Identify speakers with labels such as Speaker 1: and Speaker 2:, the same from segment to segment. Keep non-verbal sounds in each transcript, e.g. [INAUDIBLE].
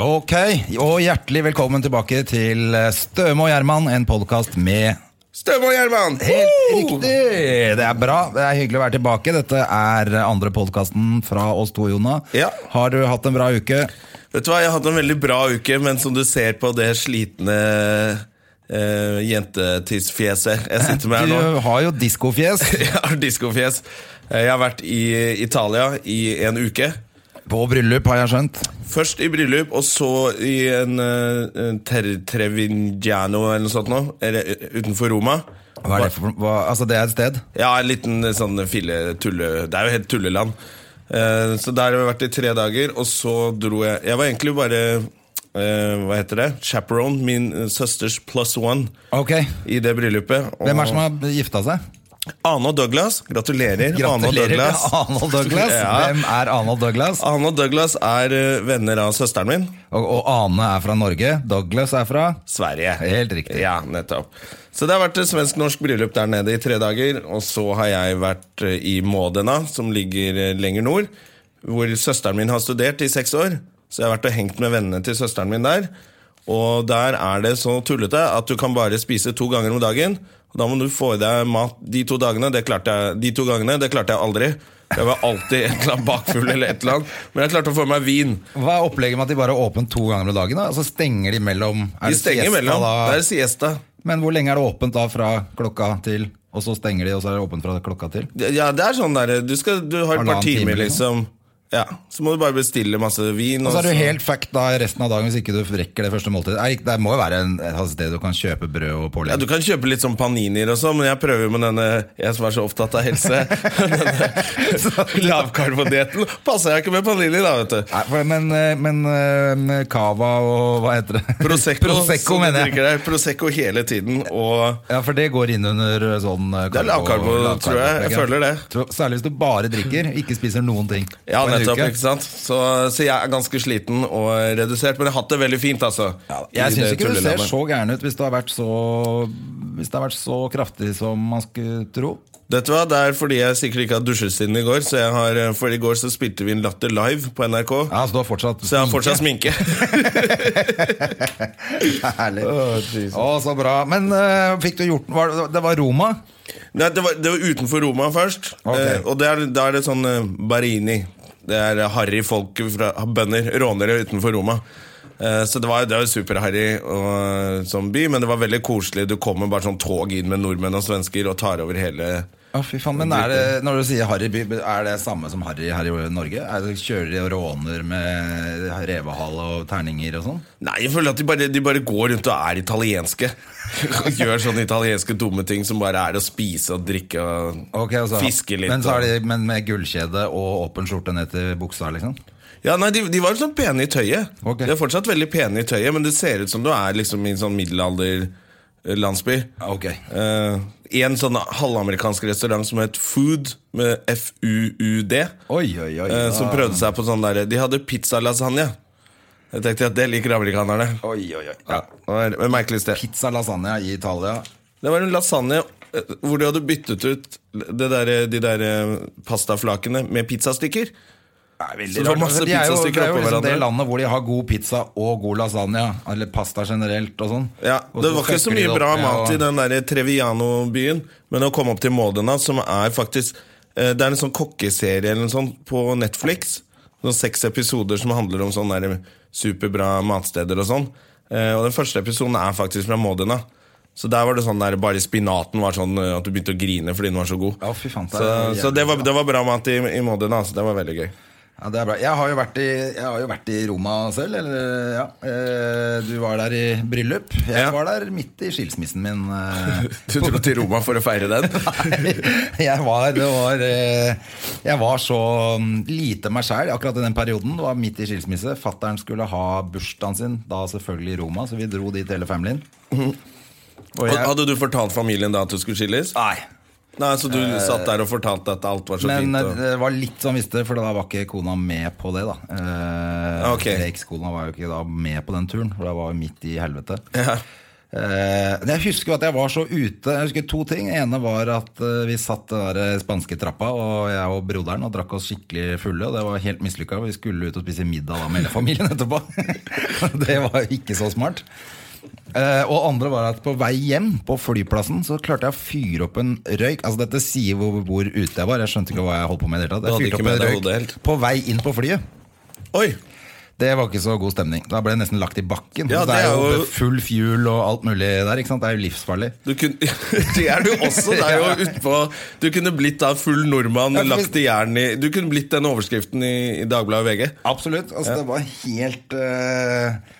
Speaker 1: Ok, og hjertelig velkommen tilbake til eh, Støme og Gjerman, en podkast med
Speaker 2: Støm og [LAUGHS] Gjerman!
Speaker 1: Helt riktig! Det er bra. Det er hyggelig å være tilbake. Dette er andre podkasten fra oss to, Jonna.
Speaker 2: Ja.
Speaker 1: Har du hatt en bra uke?
Speaker 2: Vet du hva, Jeg har hatt en veldig bra uke, men som du ser på det slitne uh, jentetissfjeset jeg sitter med her nå
Speaker 1: Du har jo
Speaker 2: [LAUGHS]
Speaker 1: diskofjes
Speaker 2: Jeg har diskofjes. Eh, Jeg har vært i Italia i en uke.
Speaker 1: på bryllup, har jeg skjønt.
Speaker 2: Først i bryllup, og så i en uh, ter Trevignano eller noe sånt nå, eller eh, utenfor Roma.
Speaker 1: Hva er det for hva, Altså, det er et sted?
Speaker 2: Ja, en liten sånn fille tulle... Det er jo helt tulleland. Eh, så der har vi vært i tre dager, og så dro jeg Jeg var egentlig bare eh, Hva heter det? Chaperone. Min eh, søsters plus one
Speaker 1: Ok.
Speaker 2: i det bryllupet. Og
Speaker 1: Hvem er det som har gifta seg?
Speaker 2: Ane og Douglas. Gratulerer. Ane og
Speaker 1: Gratulerer til
Speaker 2: Douglas.
Speaker 1: Arnold Douglas.
Speaker 2: [LAUGHS] Ja.
Speaker 1: Hvem er Arnold Douglas?
Speaker 2: Ane og Douglas er eh, venner av søsteren min.
Speaker 1: Og, og Ane er fra Norge. Douglas er fra
Speaker 2: Sverige.
Speaker 1: Helt riktig.
Speaker 2: Ja, nettopp. Så det har vært et svensk-norsk bryllup der nede i tre dager. Og så har jeg vært eh, i Modena, som ligger eh, lenger nord, hvor søsteren min har studert i seks år. Så jeg har vært og hengt med vennene til søsteren min der. Og der er det så tullete at du kan bare spise to ganger om dagen. Og da må du få i deg mat de to dagene. Det klarte jeg, de to gangene, det klarte jeg aldri. Jeg var alltid et eller annet bakfull eller et eller annet. Men jeg klarte å få meg vin.
Speaker 1: Hva er opplegget med at de bare er åpent to ganger om dagen? da? Altså stenger de mellom er
Speaker 2: De
Speaker 1: det
Speaker 2: stenger
Speaker 1: siesta
Speaker 2: imellom.
Speaker 1: da?
Speaker 2: Det er siesta.
Speaker 1: Men hvor lenge er det åpent da fra klokka til? Og så stenger de, og så er det åpent fra klokka til?
Speaker 2: Ja, det er sånn der Du, skal, du har et par
Speaker 1: Halvannen
Speaker 2: timer,
Speaker 1: time, liksom.
Speaker 2: liksom. Ja, Så må du bare bestille masse vin.
Speaker 1: Og så er
Speaker 2: og
Speaker 1: du
Speaker 2: så-
Speaker 1: helt fucked da resten av dagen hvis ikke du rekker det første måltidet. Nei, Det må jo være en, et sted du kan kjøpe brød og
Speaker 2: ja,
Speaker 1: pålegg.
Speaker 2: Du kan kjøpe litt sånn paninier og sånn, men jeg prøver jo med denne Jeg som er så opptatt av helse.
Speaker 1: [LAUGHS]
Speaker 2: [LAUGHS] denne Lavkarbodietten. Passer jeg ikke med panini, da, vet du.
Speaker 1: Nei, for- men, eh, men, eh, men cava og hva heter det?
Speaker 2: Prosecco,
Speaker 1: [LAUGHS] Prosecco
Speaker 2: som du
Speaker 1: mener jeg.
Speaker 2: drikker der. Prosecco hele tiden. Og
Speaker 1: Ja, for det går inn under sånn eh,
Speaker 2: Det er
Speaker 1: karbo-
Speaker 2: lavkarbo,
Speaker 1: lavkarbo-
Speaker 2: tror jeg. Jeg
Speaker 1: opplegg, ja.
Speaker 2: føler det.
Speaker 1: Tror- Særlig hvis du bare drikker, ikke spiser noen ting.
Speaker 2: ja,
Speaker 1: på en
Speaker 2: nettopp,
Speaker 1: uke.
Speaker 2: ikke sant? Så, så jeg er ganske sliten og redusert, men jeg har hatt det veldig fint, altså.
Speaker 1: Jeg
Speaker 2: I
Speaker 1: syns
Speaker 2: det
Speaker 1: ikke du ser
Speaker 2: tullelandet.
Speaker 1: så gæren ut hvis det har vært så Hvis det har vært så kraftig som man skulle tro.
Speaker 2: Vet du hva, Det er fordi jeg sikkert ikke har dusjet siden i går. Så jeg har, eh, for I går så spilte vi en Latter live på NRK.
Speaker 1: Ja, så du har fortsatt
Speaker 2: Så jeg har fortsatt sminke.
Speaker 1: [LAUGHS] Herlig. Å, så bra. Men eh, fikk du gjort var, det- Det var Roma?
Speaker 2: Nei, det, var, det var utenfor Roma først.
Speaker 1: Ok.
Speaker 2: Eh, og da er, da er det sånn eh, Barini. Det er eh, harry folk fra bønder, rånere utenfor Roma. Eh, så det var, det var superharry og- eh, som by, men det var veldig koselig. Du kommer bare sånn tog inn med nordmenn og svensker og tar over hele
Speaker 1: Å, fy faen. Men er det, når du sier Harry by, er det samme som Harry her i Norge? Er det, kjører de og råner med revehale og terninger og sånn?
Speaker 2: Nei, jeg føler at de bare, de bare går rundt og er italienske. [LAUGHS] Og gjør sånne italienske dumme ting som bare er å spise og drikke og
Speaker 1: Ok, altså.
Speaker 2: fiske litt.
Speaker 1: Men, så
Speaker 2: og-
Speaker 1: er de, men med gullkjede og åpen skjorte ned til buksa, liksom?
Speaker 2: Ja, nei, de, de var sånn pene i tøyet.
Speaker 1: Ok.
Speaker 2: De er fortsatt veldig pene i tøyet, men det ser ut som du er liksom i en sånn middelalderlandsby.
Speaker 1: Ok.
Speaker 2: Eh, I en sånn halvamerikansk restaurant som het Food, med F-U-U-D.
Speaker 1: Oi, oi, oi.
Speaker 2: eh,
Speaker 1: da.
Speaker 2: Som prøvde seg på sånn derre De hadde pizzalasagne. Jeg tenkte at det liker amerikanerne.
Speaker 1: Oi, oi, oi.
Speaker 2: Ja, det var et merkelig sted.
Speaker 1: Pizza lasagna i Italia.
Speaker 2: Det var en lasagne eh, hvor de hadde byttet ut det der, de der eh, pastaflakene med pizzastykker.
Speaker 1: Så
Speaker 2: det var masse
Speaker 1: de er jo,
Speaker 2: pizzastykker
Speaker 1: det er jo
Speaker 2: oppå
Speaker 1: liksom det
Speaker 2: hverandre.
Speaker 1: landet hvor de har god pizza og god lasagne. Eller pasta generelt og sånn.
Speaker 2: Ja,
Speaker 1: Og
Speaker 2: Det
Speaker 1: så
Speaker 2: var ikke så
Speaker 1: fucker de
Speaker 2: mye
Speaker 1: det
Speaker 2: bra
Speaker 1: opp med
Speaker 2: mat
Speaker 1: å-
Speaker 2: i den der Treviano-byen, men å komme opp til Modena, som er faktisk eh, Det er en sånn kokkeserie eller noe sånt på Netflix. Sånn seks episoder som handler om sånne der superbra matsteder og sånn. Eh, og den første episoden er faktisk fra Modena. Så der var det sånn der bare spinaten var sånn eh, at du begynte å grine fordi den var så god.
Speaker 1: Ja, fy faen, det er
Speaker 2: så
Speaker 1: jævlig
Speaker 2: så det, var,
Speaker 1: bra. [LAUGHS]
Speaker 2: det var bra mat i, i Modena. Altså, det var veldig gøy.
Speaker 1: Ja, det er bra. Jeg har jo vært i, jeg har jo vært i Roma selv. Eller, ja. eh, Du var der i bryllup. Jeg
Speaker 2: Ja.
Speaker 1: var der midt i skilsmissen min.
Speaker 2: [LAUGHS]
Speaker 1: eh.
Speaker 2: Du dro til Roma for å feire den?
Speaker 1: Nei, jeg var, det var eh, Jeg var så mm, lite meg sjæl akkurat i den perioden. Det var midt i skilsmisse. Fattern skulle ha bursdagen sin, da selvfølgelig i Roma, så vi dro dit hele familien. [LAUGHS] Og
Speaker 2: Og
Speaker 1: jeg,
Speaker 2: Hadde du fortalt familien da at du skulle skilles?
Speaker 1: nei,
Speaker 2: Nei, Så du satt der og fortalte at alt var så
Speaker 1: men
Speaker 2: fint?
Speaker 1: eh,
Speaker 2: Og...
Speaker 1: det var litt sånn visste, for da var ikke kona med på det, da. Eh,
Speaker 2: Ok.
Speaker 1: Ekskona var jo ikke da med på den turen, for da var vi midt i helvete.
Speaker 2: Ja.
Speaker 1: Eh, men jeg husker jo at jeg var så ute. Jeg husker to ting. ene var at eh, vi satt den der spanske trappa, og jeg og broderen, og drakk oss skikkelig fulle. Og det var helt mislykka. Vi skulle ut og spise middag da med hele familien etterpå. [LAUGHS] det var jo ikke så smart. Eh, og andre var at på vei hjem på flyplassen så klarte jeg å fyre opp en røyk. Altså Dette sier hvor, hvor ute jeg var. Jeg skjønte ikke hva jeg holdt på med. i det hele tatt.
Speaker 2: Du hadde
Speaker 1: Jeg
Speaker 2: ikke
Speaker 1: fyrte
Speaker 2: med
Speaker 1: opp
Speaker 2: deg
Speaker 1: en
Speaker 2: hodet
Speaker 1: røyk
Speaker 2: helt.
Speaker 1: på vei inn på flyet.
Speaker 2: Oi!
Speaker 1: Det var ikke så god stemning. Da ble jeg nesten lagt i bakken.
Speaker 2: Ja,
Speaker 1: så det
Speaker 2: det
Speaker 1: er
Speaker 2: er jo-
Speaker 1: jo full fuel og alt mulig der. ikke sant? Det er jo livsfarlig.
Speaker 2: Du kunne, [LAUGHS] det er du også. Det er
Speaker 1: [LAUGHS]
Speaker 2: jo utpå Du kunne blitt da full nordmann,
Speaker 1: Ja, for hvis-
Speaker 2: lagt i jern i Du kunne blitt den overskriften i, i Dagbladet og VG.
Speaker 1: Absolutt. Altså, Det var helt eh,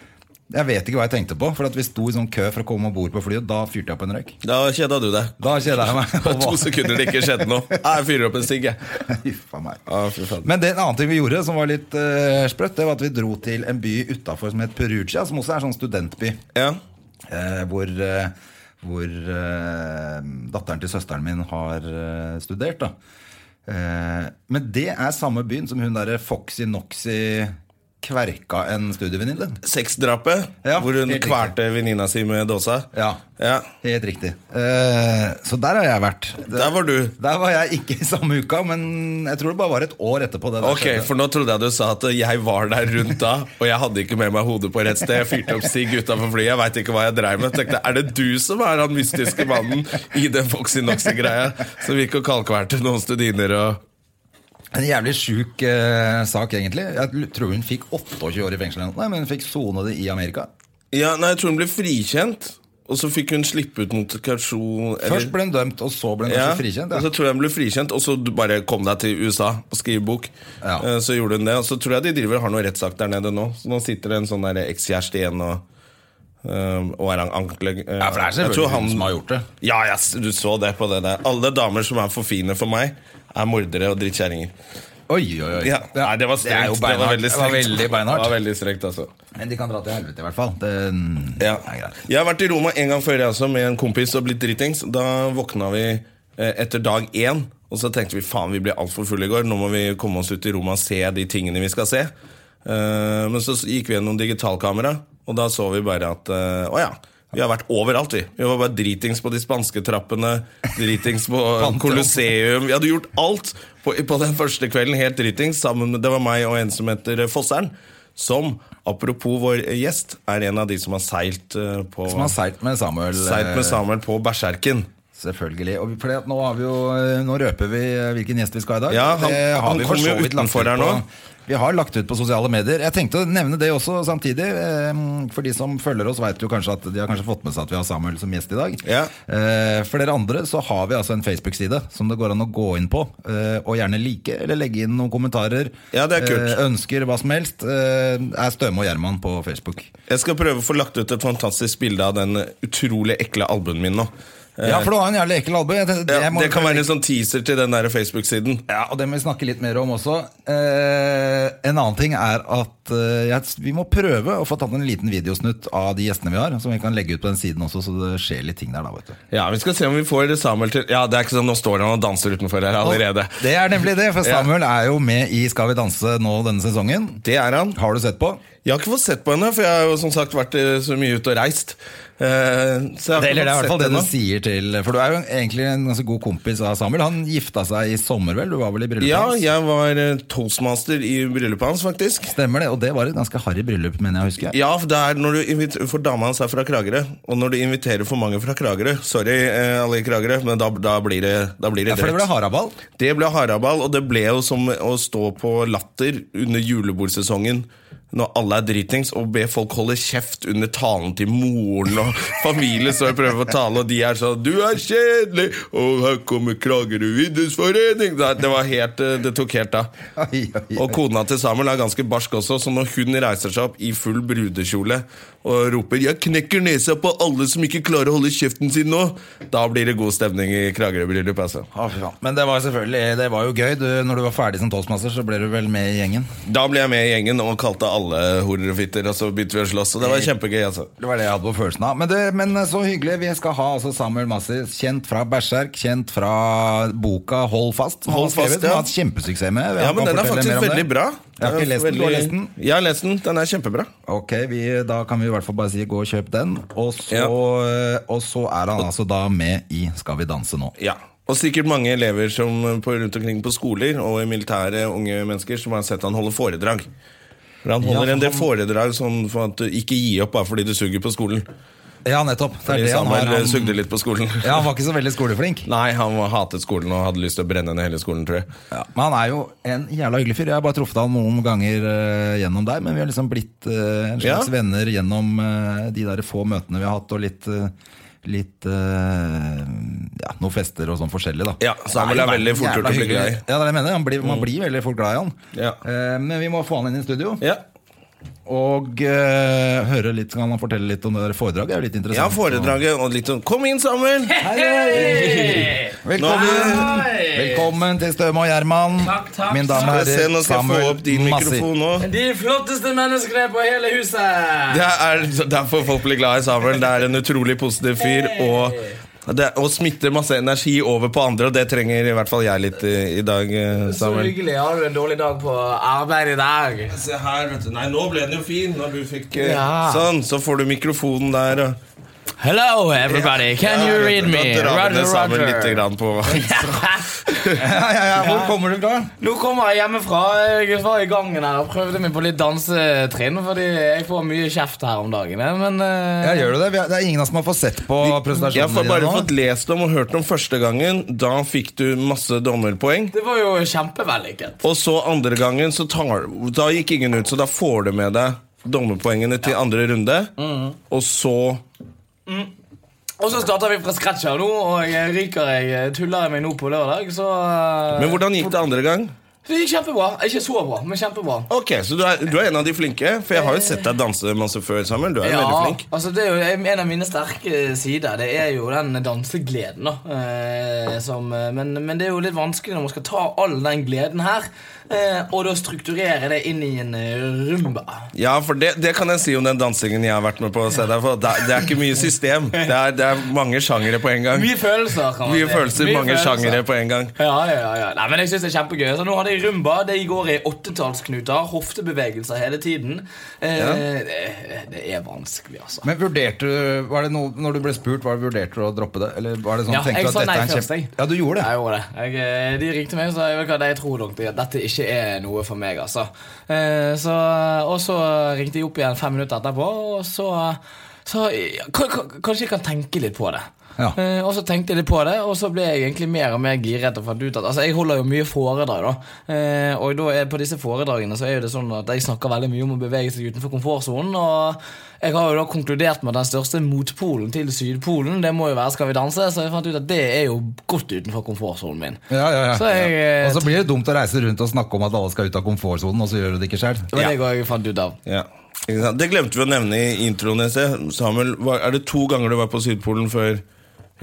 Speaker 1: Jeg vet ikke hva jeg tenkte på. For at vi sto i sånn kø for å komme om bord på flyet. Da fyrte jeg opp en røyk.
Speaker 2: Da kjeda du deg.
Speaker 1: Da kjeda
Speaker 2: [LAUGHS]
Speaker 1: jeg meg.
Speaker 2: Det var to sekunder det ikke skjedde
Speaker 1: [LAUGHS]
Speaker 2: noe. Nei, Jeg fyrer opp en sigg, jeg.
Speaker 1: Huff a meg.
Speaker 2: Ah, fy faen.
Speaker 1: Men det en annen ting vi gjorde som var litt eh, sprøtt, det var at vi dro til en by utafor som het Perugia, som også er en sånn studentby.
Speaker 2: Ja.
Speaker 1: eh, hvor eh, hvor eh, datteren til søsteren min har eh, studert. da eh, Men det er samme byen som hun derre Foxy Noxy kverka en studievenninne.
Speaker 2: Sexdrapet,
Speaker 1: Ja,
Speaker 2: hvor hun
Speaker 1: helt riktig.
Speaker 2: kvalte venninna si med dåsa.
Speaker 1: Ja.
Speaker 2: Ja.
Speaker 1: Helt riktig. Eh, så der har jeg vært.
Speaker 2: Der var du.
Speaker 1: Der var jeg ikke i samme uka, men jeg tror det bare var et år etterpå. Det der
Speaker 2: Ok,
Speaker 1: skjedde.
Speaker 2: for nå trodde jeg du sa at jeg var der rundt da, og jeg hadde ikke med meg hodet på rett sted. Jeg fyrte opp Stig utenfor flyet, jeg veit ikke hva jeg dreiv med. Tenkte, Er det du som er han mystiske mannen i den Foxy Noxy-greia som gikk og kalkverte noen studiner og
Speaker 1: En jævlig sjuk eh, sak, egentlig. Jeg l- tror hun fikk 28 år i fengsel. eller noe. Nei, men hun fikk sone det i Amerika.
Speaker 2: Ja, nei, jeg tror hun ble frikjent, og så fikk hun slippe ut notifikasjon
Speaker 1: Først ble hun dømt, og så ble hun
Speaker 2: ja,
Speaker 1: kanskje frikjent.
Speaker 2: Og
Speaker 1: Ja.
Speaker 2: så tror jeg hun ble frikjent, og så du bare kom deg til USA og skrive bok.
Speaker 1: Ja.
Speaker 2: Eh, Så gjorde hun det, og så tror jeg de driver og har noe rettssak der nede nå. Så nå sitter det en sånn der ekskjæreste igjen og, eh, og er eh, ankleg...
Speaker 1: Ja, for det er selvfølgelig hun som har gjort det.
Speaker 2: Ja, jeg s- du så det på det der. Alle damer som er for fine for meg, er mordere og drittkjerringer.
Speaker 1: Oi, oi, oi.
Speaker 2: Ja. Nei, det var
Speaker 1: Det er
Speaker 2: strengt.
Speaker 1: jo
Speaker 2: Det, var
Speaker 1: beinhardt.
Speaker 2: veldig
Speaker 1: Det var
Speaker 2: strengt.
Speaker 1: veldig beinhardt.
Speaker 2: Det var veldig strengt, altså.
Speaker 1: Men de kan dra til helvete, i hvert fall. Det
Speaker 2: Ja.
Speaker 1: er greit.
Speaker 2: Jeg har vært i Roma en gang før jeg også med en kompis og blitt dritings. Da våkna vi eh, etter dag én, og så tenkte vi faen, vi ble altfor fulle i går. Nå må vi komme oss ut i Roma og se de tingene vi skal se. Eh, Men så s- gikk vi gjennom digitalkamera, og da så vi bare at eh, å ja. Vi har vært overalt, vi. Vi var bare dritings på de spanske trappene. Dritings på eh, Colosseum. Vi hadde gjort alt på, på den første kvelden, helt dritings. Sammen med, det var meg og en som heter eh, Fosseren. Som, apropos vår gjest, er en av de som har seilt eh, på
Speaker 1: Som har seilt med Samuel.
Speaker 2: seilt med Samuel på Berserken.
Speaker 1: eh, Selvfølgelig. Og fordi at nå, har vi jo, eh, nå røper vi eh, hvilken gjest vi skal ha i dag.
Speaker 2: Ja, han-
Speaker 1: Det har
Speaker 2: han
Speaker 1: vi for
Speaker 2: kommer jo
Speaker 1: så vidt lagt
Speaker 2: utenfor
Speaker 1: ut
Speaker 2: her
Speaker 1: på-
Speaker 2: nå.
Speaker 1: Vi har lagt ut på sosiale medier. Jeg tenkte å nevne det også samtidig. eh, For de som følger oss, vet jo kanskje at de har kanskje fått med seg at vi har Samuel som gjest i dag.
Speaker 2: Ja.
Speaker 1: Eh, For dere andre så har vi altså en Facebook-side som det går an å gå inn på. eh, Og gjerne like, eller legge inn noen kommentarer.
Speaker 2: Ja, det er kult.
Speaker 1: eh, Ønsker hva som helst. eh, Er Støme og Gjerman på Facebook.
Speaker 2: Jeg skal prøve å få lagt ut et fantastisk bilde av den utrolig ekle albuen min nå. Eh,
Speaker 1: Ja, for du har en jævlig ekkel albue. Jeg tenkte,
Speaker 2: ja,
Speaker 1: jeg må-
Speaker 2: det kan være en sånn teaser til den der Facebook-siden.
Speaker 1: Ja, og det må vi snakke litt mer om også. Eh, en annen ting er at eh, jeg, vi må prøve å få tatt en liten videosnutt av de gjestene vi har, som vi kan legge ut på den siden også, så det skjer litt ting der da, vet du.
Speaker 2: Ja, Vi skal se om vi får Samuel til Ja, det er ikke sånn, Nå står han og danser utenfor her allerede.
Speaker 1: Det er nemlig det, for Samuel er jo med i Skal vi danse nå denne sesongen.
Speaker 2: Det er han.
Speaker 1: Har du sett på?
Speaker 2: Jeg har ikke fått sett på henne, for jeg har jo som sagt vært eh, så mye ute og reist. Eh, så jeg har ikke
Speaker 1: Det, eller det er i
Speaker 2: fått
Speaker 1: hvert fall
Speaker 2: sett
Speaker 1: det du
Speaker 2: henne.
Speaker 1: sier til For du er jo egentlig en ganske god kompis av Samuel. Han gifta seg i sommer, vel? Du var vel i bryllupet
Speaker 2: Ja,
Speaker 1: hans?
Speaker 2: jeg var eh, toastmaster i bryllupet hans, faktisk.
Speaker 1: Stemmer det. Og det var et ganske harry bryllup, mener jeg å huske.
Speaker 2: Ja, for, det er når du inviter- for dama hans er fra Kragerø. Og når du inviterer for mange fra Kragerø Sorry, eh, alle i Kragerø, men da, da blir det da blir det
Speaker 1: Ja, for det ble
Speaker 2: drøyt.
Speaker 1: haraball.
Speaker 2: Det ble haraball, og det ble jo som å stå på latter under julebordsesongen når alle er dritings, og be folk holde kjeft under talen til moren. Og [LAUGHS] familien står og prøver å tale, og de er sånn 'Du er kjedelig!' Og her kommer Kragerø idrettsforening! Nei, Det, var helt, eh, det tok helt av.
Speaker 1: Oi, oi, oi.
Speaker 2: Og kona til Samuel er ganske barsk også, så når hun reiser seg opp i full brudekjole og roper 'Jeg knekker nesa på alle som ikke klarer å holde kjeften sin nå', da blir det god stemning i Kragerø-bryllup. Altså.
Speaker 1: Å, fy faen. Men det var selvfølgelig Det var jo gøy. Du, når du var ferdig som toastmaster, så ble du vel med i gjengen?
Speaker 2: Da ble jeg med i gjengen og kalte alle horer og fitter, og så begynte vi å slåss, og det var kjempegøy. altså.
Speaker 1: Det var det jeg hadde på følelsen av. Men, det, men eh, så hyggelig. Vi skal ha altså Samuel Massi, kjent fra Berserk, kjent fra boka Hold fast. som han
Speaker 2: Hold
Speaker 1: har skrevet,
Speaker 2: fast,
Speaker 1: som
Speaker 2: ja.
Speaker 1: har hatt kjempesuksess med.
Speaker 2: Ja, men den
Speaker 1: Kan
Speaker 2: er
Speaker 1: fortelle
Speaker 2: faktisk
Speaker 1: mer om det.
Speaker 2: veldig bra.
Speaker 1: Jeg har ikke lest den. Du har
Speaker 2: Veldig-
Speaker 1: lest den?
Speaker 2: Jeg har lest den. Den er kjempebra.
Speaker 1: Ok, vi, Da kan vi i hvert fall bare si gå og kjøp den. Og så, eh,
Speaker 2: Ja.
Speaker 1: og så er han altså da med i Skal vi danse nå.
Speaker 2: Ja. Og sikkert mange elever som eh, på, rundt omkring på skoler og i militære unge mennesker som har sett han holde foredrag. For han holder
Speaker 1: Ja, for
Speaker 2: en del
Speaker 1: han-
Speaker 2: foredrag sånn for at du ikke gi opp bare fordi du suger på skolen.
Speaker 1: Ja, nettopp. Det er
Speaker 2: Fordi
Speaker 1: det han
Speaker 2: Samuel
Speaker 1: har.
Speaker 2: eh, sugde
Speaker 1: Han,
Speaker 2: litt på skolen.
Speaker 1: [LAUGHS] ja, han var ikke så veldig
Speaker 2: [LAUGHS]
Speaker 1: skoleflink.
Speaker 2: Nei, han var- hatet skolen og hadde lyst til å brenne ned hele skolen, tror jeg.
Speaker 1: Ja, men han er jo en jævla hyggelig fyr. Jeg har bare truffet han noen ganger eh, gjennom deg, men vi har liksom blitt eh, en slags
Speaker 2: Ja.
Speaker 1: venner gjennom eh, de der få møtene vi har hatt, og litt, eh, litt eh, ja, noen fester og sånn forskjellig, da.
Speaker 2: Ja, så han vil
Speaker 1: Nei,
Speaker 2: ha
Speaker 1: nei,
Speaker 2: veldig fort
Speaker 1: jævla
Speaker 2: gjort å bli
Speaker 1: hyggelig.
Speaker 2: glad i. Mm.
Speaker 1: Ja, det er det jeg mener. Han blir, man blir veldig fort glad i han.
Speaker 2: Ja.
Speaker 1: Eh, men vi må få han inn i studio
Speaker 2: Ja,
Speaker 1: og eh, høre litt, kan han fortelle litt om det der foredraget. Det er jo litt
Speaker 2: ja
Speaker 1: interessant.
Speaker 2: foredraget og litt sånn Kom inn, Samuel!
Speaker 1: Velkommen,
Speaker 3: Hei!
Speaker 1: velkommen til Støme og Gjerman.
Speaker 3: Takk, takk.
Speaker 1: Min dame
Speaker 2: Skal
Speaker 1: og
Speaker 2: jeg se, nå
Speaker 1: herrer,
Speaker 2: skal jeg få opp din
Speaker 1: Massi.
Speaker 2: mikrofon nå.
Speaker 3: De flotteste menneskene på hele huset!
Speaker 2: Det er derfor folk blir glad i Samuel. Det er en utrolig positiv fyr. Og, det, og smitter masse energi over på andre, og det trenger i hvert fall jeg litt i, i dag. eh,
Speaker 3: Så
Speaker 2: Samuel
Speaker 3: hyggelig. Har du en dårlig dag på arbeid i dag?
Speaker 2: Se her, vet du. Nei, nå ble den jo fin. Når du fikk
Speaker 3: Ja.
Speaker 2: Sånn, så får du mikrofonen der. og-
Speaker 3: Hello, everybody. Can you
Speaker 2: Ja, vet
Speaker 3: read
Speaker 2: du,
Speaker 3: me?
Speaker 2: Da drar vi ned Samuel lite
Speaker 3: Roger.
Speaker 2: grann på
Speaker 1: Ja, ja, ja, hvor kommer du fra?
Speaker 3: [LAUGHS] Nå kommer jeg hjemmefra. Jeg var i gangen her og prøvde meg på litt dansetrinn, fordi jeg får mye kjeft her om dagen. eh, Men eh,
Speaker 1: Ja, gjør du det? Vi har- Det er ingen av oss som har fått sett på presentasjonen
Speaker 2: Jeg har
Speaker 1: din
Speaker 2: bare
Speaker 1: nå.
Speaker 2: fått lest om og hørt om første gangen. Da fikk du masse dommerpoeng.
Speaker 3: det var jo kjempevellykket.
Speaker 2: Og så andre gangen, så tar, da gikk ingen ut, så da får du med deg dommerpoengene til andre runde. Og så
Speaker 3: Og så starter vi fra scratch her nå, og jeg ryker jeg tuller meg nå på lørdag, så eh,
Speaker 2: Men hvordan gikk det andre gang?
Speaker 3: Det gikk kjempebra. Ikke så bra, men kjempebra.
Speaker 2: Ok, Så du er, du er en av de flinke? For jeg har jo sett deg danse masse før, Samuel. Du er jo veldig flink.
Speaker 3: altså det er jo en av mine sterke sider. Det er jo den dansegleden. da eh, som, eh, men, men det er jo litt vanskelig når man skal ta all den gleden her, eh, og da strukturere det inn i en eh, rumba.
Speaker 2: Ja, for det, det kan jeg si om den dansingen jeg har vært med på. å se deg for det, er- det er ikke mye system. Det er, det er mange sjangere på en gang.
Speaker 3: Mye følelser. kan man
Speaker 2: Mye
Speaker 3: si.
Speaker 2: følelser, mange
Speaker 3: følelser.
Speaker 2: sjangere på en gang.
Speaker 3: Ja, ja, ja, ja. Nei, men jeg synes det er kjempegøy Så Nå hadde jeg rumba, det går i åttetallsknuter Hoftebevegelser hele tiden eh, det, det er vanskelig, altså
Speaker 1: Men vurderte du var det noe, Når du ble spurt, var det vurderte du å droppe det? Eller var det sånn,
Speaker 3: Ja,
Speaker 1: tenkte du
Speaker 3: jeg
Speaker 1: at
Speaker 3: sa
Speaker 1: dette
Speaker 3: nei
Speaker 1: er en
Speaker 3: først, jeg.
Speaker 1: kjempe... Ja, du gjorde
Speaker 3: Jeg
Speaker 1: det?
Speaker 3: gjorde det. Jeg, eh, de ringte meg og sa jeg, jeg tror dere at dette ikke er noe for meg. altså. Eh, så, og så ringte jeg opp igjen fem minutter etterpå, og så, så ja, k- k- Kanskje jeg kan tenke litt på det.
Speaker 1: Ja.
Speaker 3: Eh, og så tenkte jeg litt på det, og så ble jeg egentlig mer og mer giret. og fant ut at, altså Jeg holder jo mye foredrag, da. Eh, og da er, på disse foredragene så er jo det sånn at jeg snakker veldig mye om å bevege seg utenfor komfortsonen. Og jeg har jo da konkludert med at den største motpolen til Sydpolen, det må jo være Skal vi danse. Så jeg fant ut at det er jo godt utenfor komfortsonen min.
Speaker 1: Ja, ja, ja.
Speaker 3: Så jeg, eh,
Speaker 1: Og så blir det dumt å reise rundt og snakke om at alle skal ut av komfortsonen, og så gjør du det ikke sjøl.
Speaker 3: Det var det jeg fant ut av.
Speaker 2: Ja. Ikke sant? Det glemte vi å nevne i introen. i sted. Samuel, var, er det to ganger du var på Sydpolen før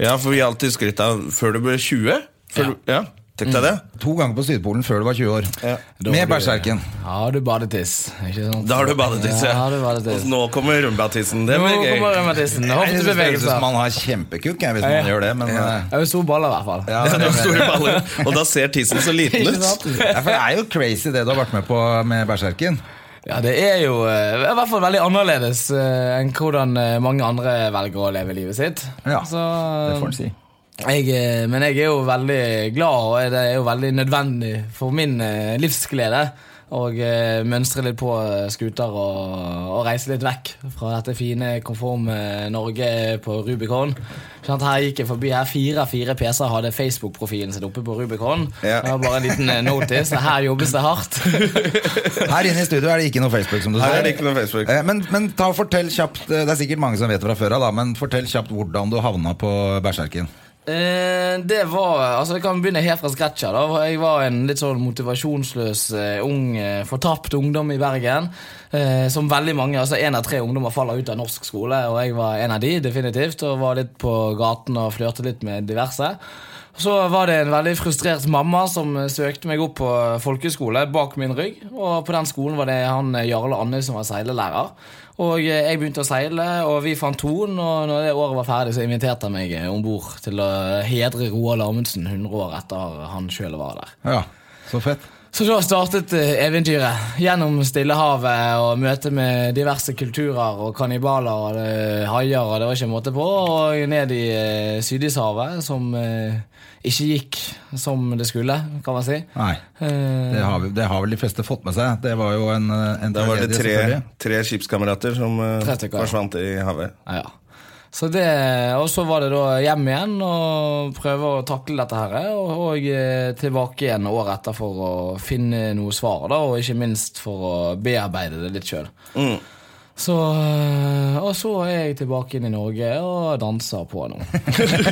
Speaker 2: Ja, for vi har alltid skrytt av før du ble 20? Før Du, ja. Tenk deg det.
Speaker 1: To ganger på Sydpolen før du var 20 år.
Speaker 2: Da var
Speaker 1: Med
Speaker 2: du-
Speaker 1: berserken.
Speaker 3: Har du badetiss? Ikke sant?
Speaker 2: Da har du badetiss,
Speaker 3: Ja,
Speaker 2: ja.
Speaker 3: har du badetiss.
Speaker 2: Og nå kommer rumbatissen. Det
Speaker 3: Nå
Speaker 2: blir gøy.
Speaker 3: kommer revmatissen.
Speaker 1: Jeg synes det høres ut som
Speaker 3: Hoftebevegelser.
Speaker 1: man har kjempekukk jeg, hvis man
Speaker 3: Ja, ja.
Speaker 1: gjør det, men eh,
Speaker 3: Jeg har jo store baller, i hvert fall.
Speaker 1: ja,
Speaker 2: [LAUGHS] Ja,
Speaker 1: det
Speaker 2: du har
Speaker 1: mener jeg.
Speaker 2: store baller, og da ser tissen så liten
Speaker 3: Ikke
Speaker 2: ut.
Speaker 3: sant?
Speaker 1: Ja, for det er jo crazy det du har vært med på med berserken.
Speaker 3: Ja, det er jo eh, i hvert fall veldig annerledes eh, enn hvordan eh, mange andre velger å leve livet sitt.
Speaker 1: Ja,
Speaker 3: Så,
Speaker 1: Det får en si.
Speaker 3: jeg, eh, men jeg er jo veldig glad, og det er jo veldig nødvendig for min eh, livsglede. Og eh, mønstre litt på eh, skuter og, og reise litt vekk fra dette fine, konforme Norge på Rubicon. Sånn at her gikk jeg forbi her Fire-fire PC-er hadde Facebook-profilen sin oppe på Rubicon.
Speaker 2: Ja.
Speaker 3: Det var bare en liten eh, notice. Her jobbes det hardt.
Speaker 1: Her inne i studio er det ikke noe Facebook, som du
Speaker 2: Her
Speaker 1: sa.
Speaker 2: er det ikke noe Facebook.
Speaker 1: Eh, Men, men ta og fortell kjapt eh, Det er sikkert mange som vet det fra før av, da, men fortell kjapt hvordan du havna på Berserken.
Speaker 3: Eh, det var Altså, jeg kan begynne helt fra scratch her. da Jeg var en litt sånn motivasjonsløs eh, ung, eh, fortapt ungdom i Bergen. Eh, som veldig mange. Altså Én av tre ungdommer faller ut av norsk skole, og jeg var en av de, definitivt. Og var litt på gaten og flørte litt med diverse. Så var det en veldig frustrert mamma som eh, søkte meg opp på eh, folkeskole bak min rygg. Og på den skolen var det han eh, Jarle Andøy som var seilelærer. Og eh, jeg begynte å seile, og vi fant ton. Og når det året var ferdig, så inviterte han meg eh, om bord til å eh, hedre Roald Amundsen 100 år etter han sjøl var der.
Speaker 1: Ja, så fett.
Speaker 3: Så da startet eh, eventyret. Gjennom Stillehavet og møte med diverse kulturer og kannibaler og eh, haier, og det var ikke måte på. Og ned i eh, Sydishavet, som eh, ikke gikk som det skulle, kan man si.
Speaker 1: Nei,
Speaker 3: Eh,
Speaker 1: det har, vi- det har vel de fleste fått med seg. Det var jo en, eh, en
Speaker 2: Da var det
Speaker 1: tragedie,
Speaker 2: tre,
Speaker 1: selvfølgelig.
Speaker 2: tre skipskamerater som eh,
Speaker 3: Tre stykker, ja.
Speaker 2: forsvant i havet.
Speaker 3: ja. Så det, og så var det da hjem igjen og prøve å takle dette her. Og, og eh, tilbake igjen året etter for å finne noe svar, da, og ikke minst for å bearbeide det litt sjøl. Så, øh, og så er jeg tilbake inn i Norge og danser på nå.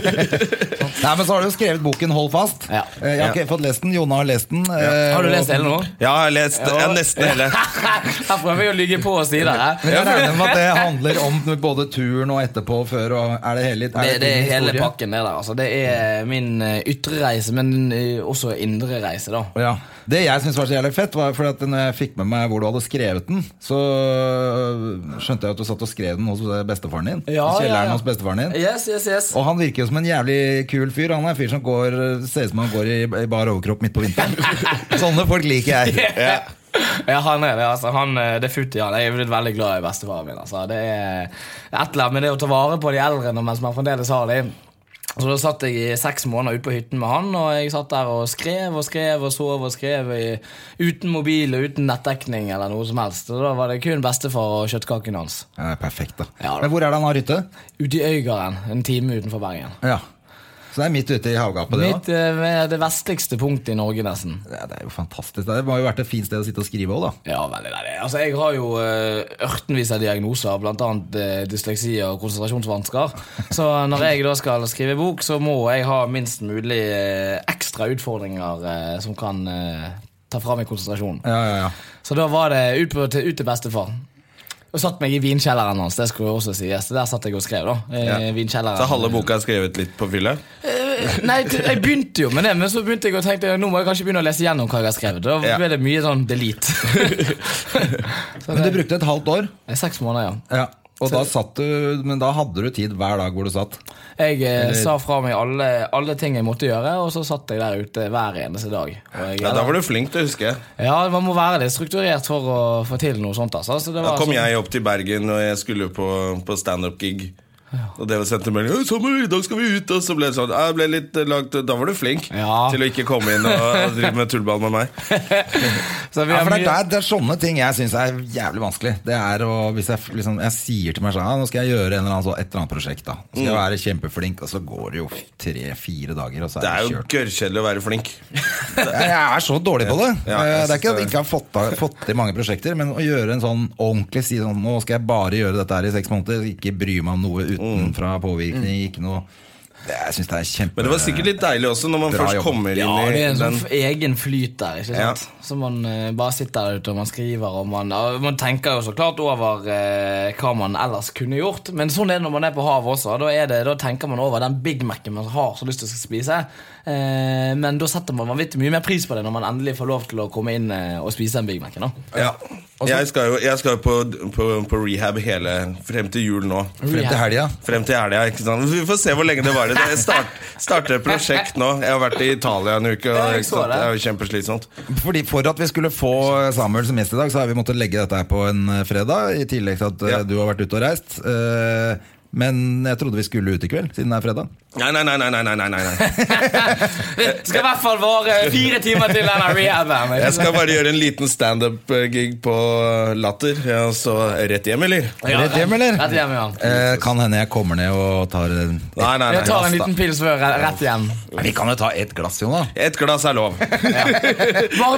Speaker 1: Nei, men så har du jo skrevet boken Hold fast.
Speaker 3: Ja.
Speaker 1: Eh, Jeg har ikke fått lest den. Jone har lest den. eh,
Speaker 3: [LAUGHS] Har du
Speaker 1: og-
Speaker 3: lest hele nå?
Speaker 2: Ja, jeg har lest ja, nesten hele.
Speaker 3: [LAUGHS] Her prøver jeg å ligge på og si det.
Speaker 1: Men
Speaker 3: her.
Speaker 1: jeg regner med at det handler om både turen og etterpå og før. Og er det hele, er
Speaker 3: Det, det er
Speaker 1: din
Speaker 3: hele
Speaker 1: historie?
Speaker 3: pakken, det der. Altså, det er min eh, ytre reise, men eh, også indre reise, da.
Speaker 1: Ja. Det jeg syns var så jævlig fett, var fordi at når jeg fikk med meg hvor du hadde skrevet den, så øh, skjønte jeg at du satt og skrev den hos øh, bestefaren din. I kjelleren hos bestefaren din.
Speaker 3: Yes, yes, yes.
Speaker 1: Og han virker jo som en jævlig kul fyr. Han er en fyr som går, ser ut som han går i i bar overkropp midt på [LAUGHS] vinteren. Sånne folk liker jeg.
Speaker 3: Ja. han er det. altså han, eh, Det er futt i han. Jeg er blitt veldig glad i bestefaren min. altså Det er et eller annet med det å ta vare på de eldre når- mens man fremdeles har dem. Så da satt jeg i seks måneder ute på hytten med han, og jeg satt der og skrev og skrev og sov og skrev i, uten mobil og uten nettdekning eller noe som helst. Og da var det kun bestefar og kjøttkaken hans.
Speaker 1: Ja, det er perfekt, da.
Speaker 3: Ja, da.
Speaker 1: Men hvor er det han har hytte?
Speaker 3: Ute i Øygarden, en time utenfor Bergen.
Speaker 1: Ja. Så det er midt ute i havgapet, det
Speaker 3: Mitt,
Speaker 1: òg.
Speaker 3: eh, det vestligste punktet i Norge, nesten.
Speaker 1: Ja, det er jo fantastisk. Det må jo vært et fint sted å sitte og skrive òg, da.
Speaker 3: Ja, veldig, veldig. Altså, jeg har jo eh, ørtenvis av diagnoser, bl.a. Uh, dysleksi og konsentrasjonsvansker. Så når jeg da skal skrive bok, så må jeg ha minst mulig eh, ekstra utfordringer eh, som kan eh, ta fra meg konsentrasjonen.
Speaker 1: Ja, ja, ja.
Speaker 3: Så da var det ut, på, til, ut til bestefar. Og satt meg i vinkjelleren hans. det skulle jo også sies. Der satt jeg og skrev. da. Eh,
Speaker 2: Ja.
Speaker 3: vinkjelleren. Eh,
Speaker 2: Så halve boka er skrevet litt på fylla?
Speaker 3: Nei, t- jeg begynte jo med det, men så begynte jeg å tenke nå må jeg kanskje begynne å lese gjennom hva jeg har skrevet. Da
Speaker 2: Ja.
Speaker 3: ble det mye sånn delete. [LAUGHS] så
Speaker 1: Men du
Speaker 3: det,
Speaker 1: brukte et halvt år.
Speaker 3: det er seks måneder, ja.
Speaker 1: Ja, og da satt du, Men da hadde du tid hver dag hvor du satt.
Speaker 3: Jeg eh, sa fra meg alle, alle ting jeg måtte gjøre, og så satt jeg der ute hver eneste dag. Og jeg,
Speaker 2: Ja, Da var du flink til å huske.
Speaker 3: ja, man må være litt strukturert for å få til noe sånt. Altså. Så det
Speaker 2: Da
Speaker 3: var
Speaker 2: kom
Speaker 3: sånn-
Speaker 2: jeg opp til Bergen, og jeg skulle på, på standup-gig. Og det var sendte melding «Hei, 'Sommer, i dag skal vi ut!' Og så ble det sånn. Jeg ble litt eh, langt, da var du flink
Speaker 3: Ja.
Speaker 2: til å ikke komme inn og drive med tullball med meg.
Speaker 3: Så vi
Speaker 1: Ja,
Speaker 3: har
Speaker 1: for det er,
Speaker 3: mye-
Speaker 1: der, det er sånne ting jeg syns er jævlig vanskelig. Det er å, hvis jeg, f- liksom, jeg sier til meg selv «Ah, nå skal jeg gjøre en eller annen, så, et eller annet prosjekt, da.
Speaker 2: Mm.
Speaker 1: Så skal jeg være kjempeflink, og så går det jo tre-fire dager, og så
Speaker 2: Det
Speaker 1: er
Speaker 2: er
Speaker 1: det
Speaker 2: jo
Speaker 1: kjørt.
Speaker 2: gørrkjedelig å være flink.
Speaker 1: Jeg jeg er så dårlig på det.
Speaker 2: Ja,
Speaker 1: Eh,
Speaker 2: jeg synes
Speaker 1: det er ikke at jeg
Speaker 2: det-
Speaker 1: ikke har fått, ta- fått til mange prosjekter, men å gjøre en sånn ordentlig si sånn Nå skal jeg bare gjøre dette her i seks måneder, ikke bry meg om noe
Speaker 2: Mm.
Speaker 1: utenfra påvirkning, ikke noe Det- Jeg syns det er kjempe...
Speaker 2: Men det var sikkert litt deilig også, når man
Speaker 1: Bra
Speaker 2: først
Speaker 1: jobb.
Speaker 2: kommer
Speaker 3: ja,
Speaker 2: inn
Speaker 3: det
Speaker 2: i
Speaker 3: er en sånn
Speaker 2: den
Speaker 3: f- egen flyt der, ikke sant?
Speaker 2: Ja.
Speaker 3: Så man eh, bare sitter der ute og man skriver, og man, ja, man tenker jo så klart over eh, hva man ellers kunne gjort. Men sånn er det når man er på havet også. Da, er det, da tenker man over den Big Mac-en man har så lyst til å spise. Eh, men da setter man vanvittig mye mer pris på det når man endelig får lov til å komme inn eh, og spise den Big Mac-en. da.
Speaker 2: Ja. Jeg skal jo, jeg skal jo på, på, på rehab hele frem til jul nå.
Speaker 1: Frem til helga.
Speaker 2: Frem til helga. ikke sant? Vi får se hvor lenge det varer. Det start, starter et prosjekt nå. Jeg har vært i Italia en uke.
Speaker 3: Ja,
Speaker 2: Og,
Speaker 3: jeg
Speaker 2: ikke
Speaker 3: så
Speaker 2: sant?
Speaker 3: det.
Speaker 2: Det er jo kjempeslitsomt.
Speaker 1: Fordi For at vi skulle få Samuel som gjest i dag, så har vi måttet legge dette her på en eh, fredag. I tillegg til at eh,
Speaker 2: Ja.
Speaker 1: du har vært ute og reist. Eh, Men jeg trodde vi skulle ut i kveld, siden det er fredag.
Speaker 2: Nei, nei, nei, nei, nei, nei, nei, nei.
Speaker 3: Det skal i hvert fall vare fire timer til denne rehaben.
Speaker 2: Jeg skal bare gjøre en liten standup-gig på Latter, ja, så rett hjem, eller?
Speaker 3: Ja,
Speaker 1: Rett hjem, eller?
Speaker 3: Rett hjem, ja.
Speaker 1: Eh, kan hende jeg kommer ned og tar en
Speaker 2: Nei, nei,
Speaker 3: Jeg tar
Speaker 2: nei.
Speaker 3: en liten pils før jeg- rett hjem.
Speaker 1: Vi kan jo ta ett glass, Jonas.
Speaker 2: Et glass er lov.
Speaker 3: Bare,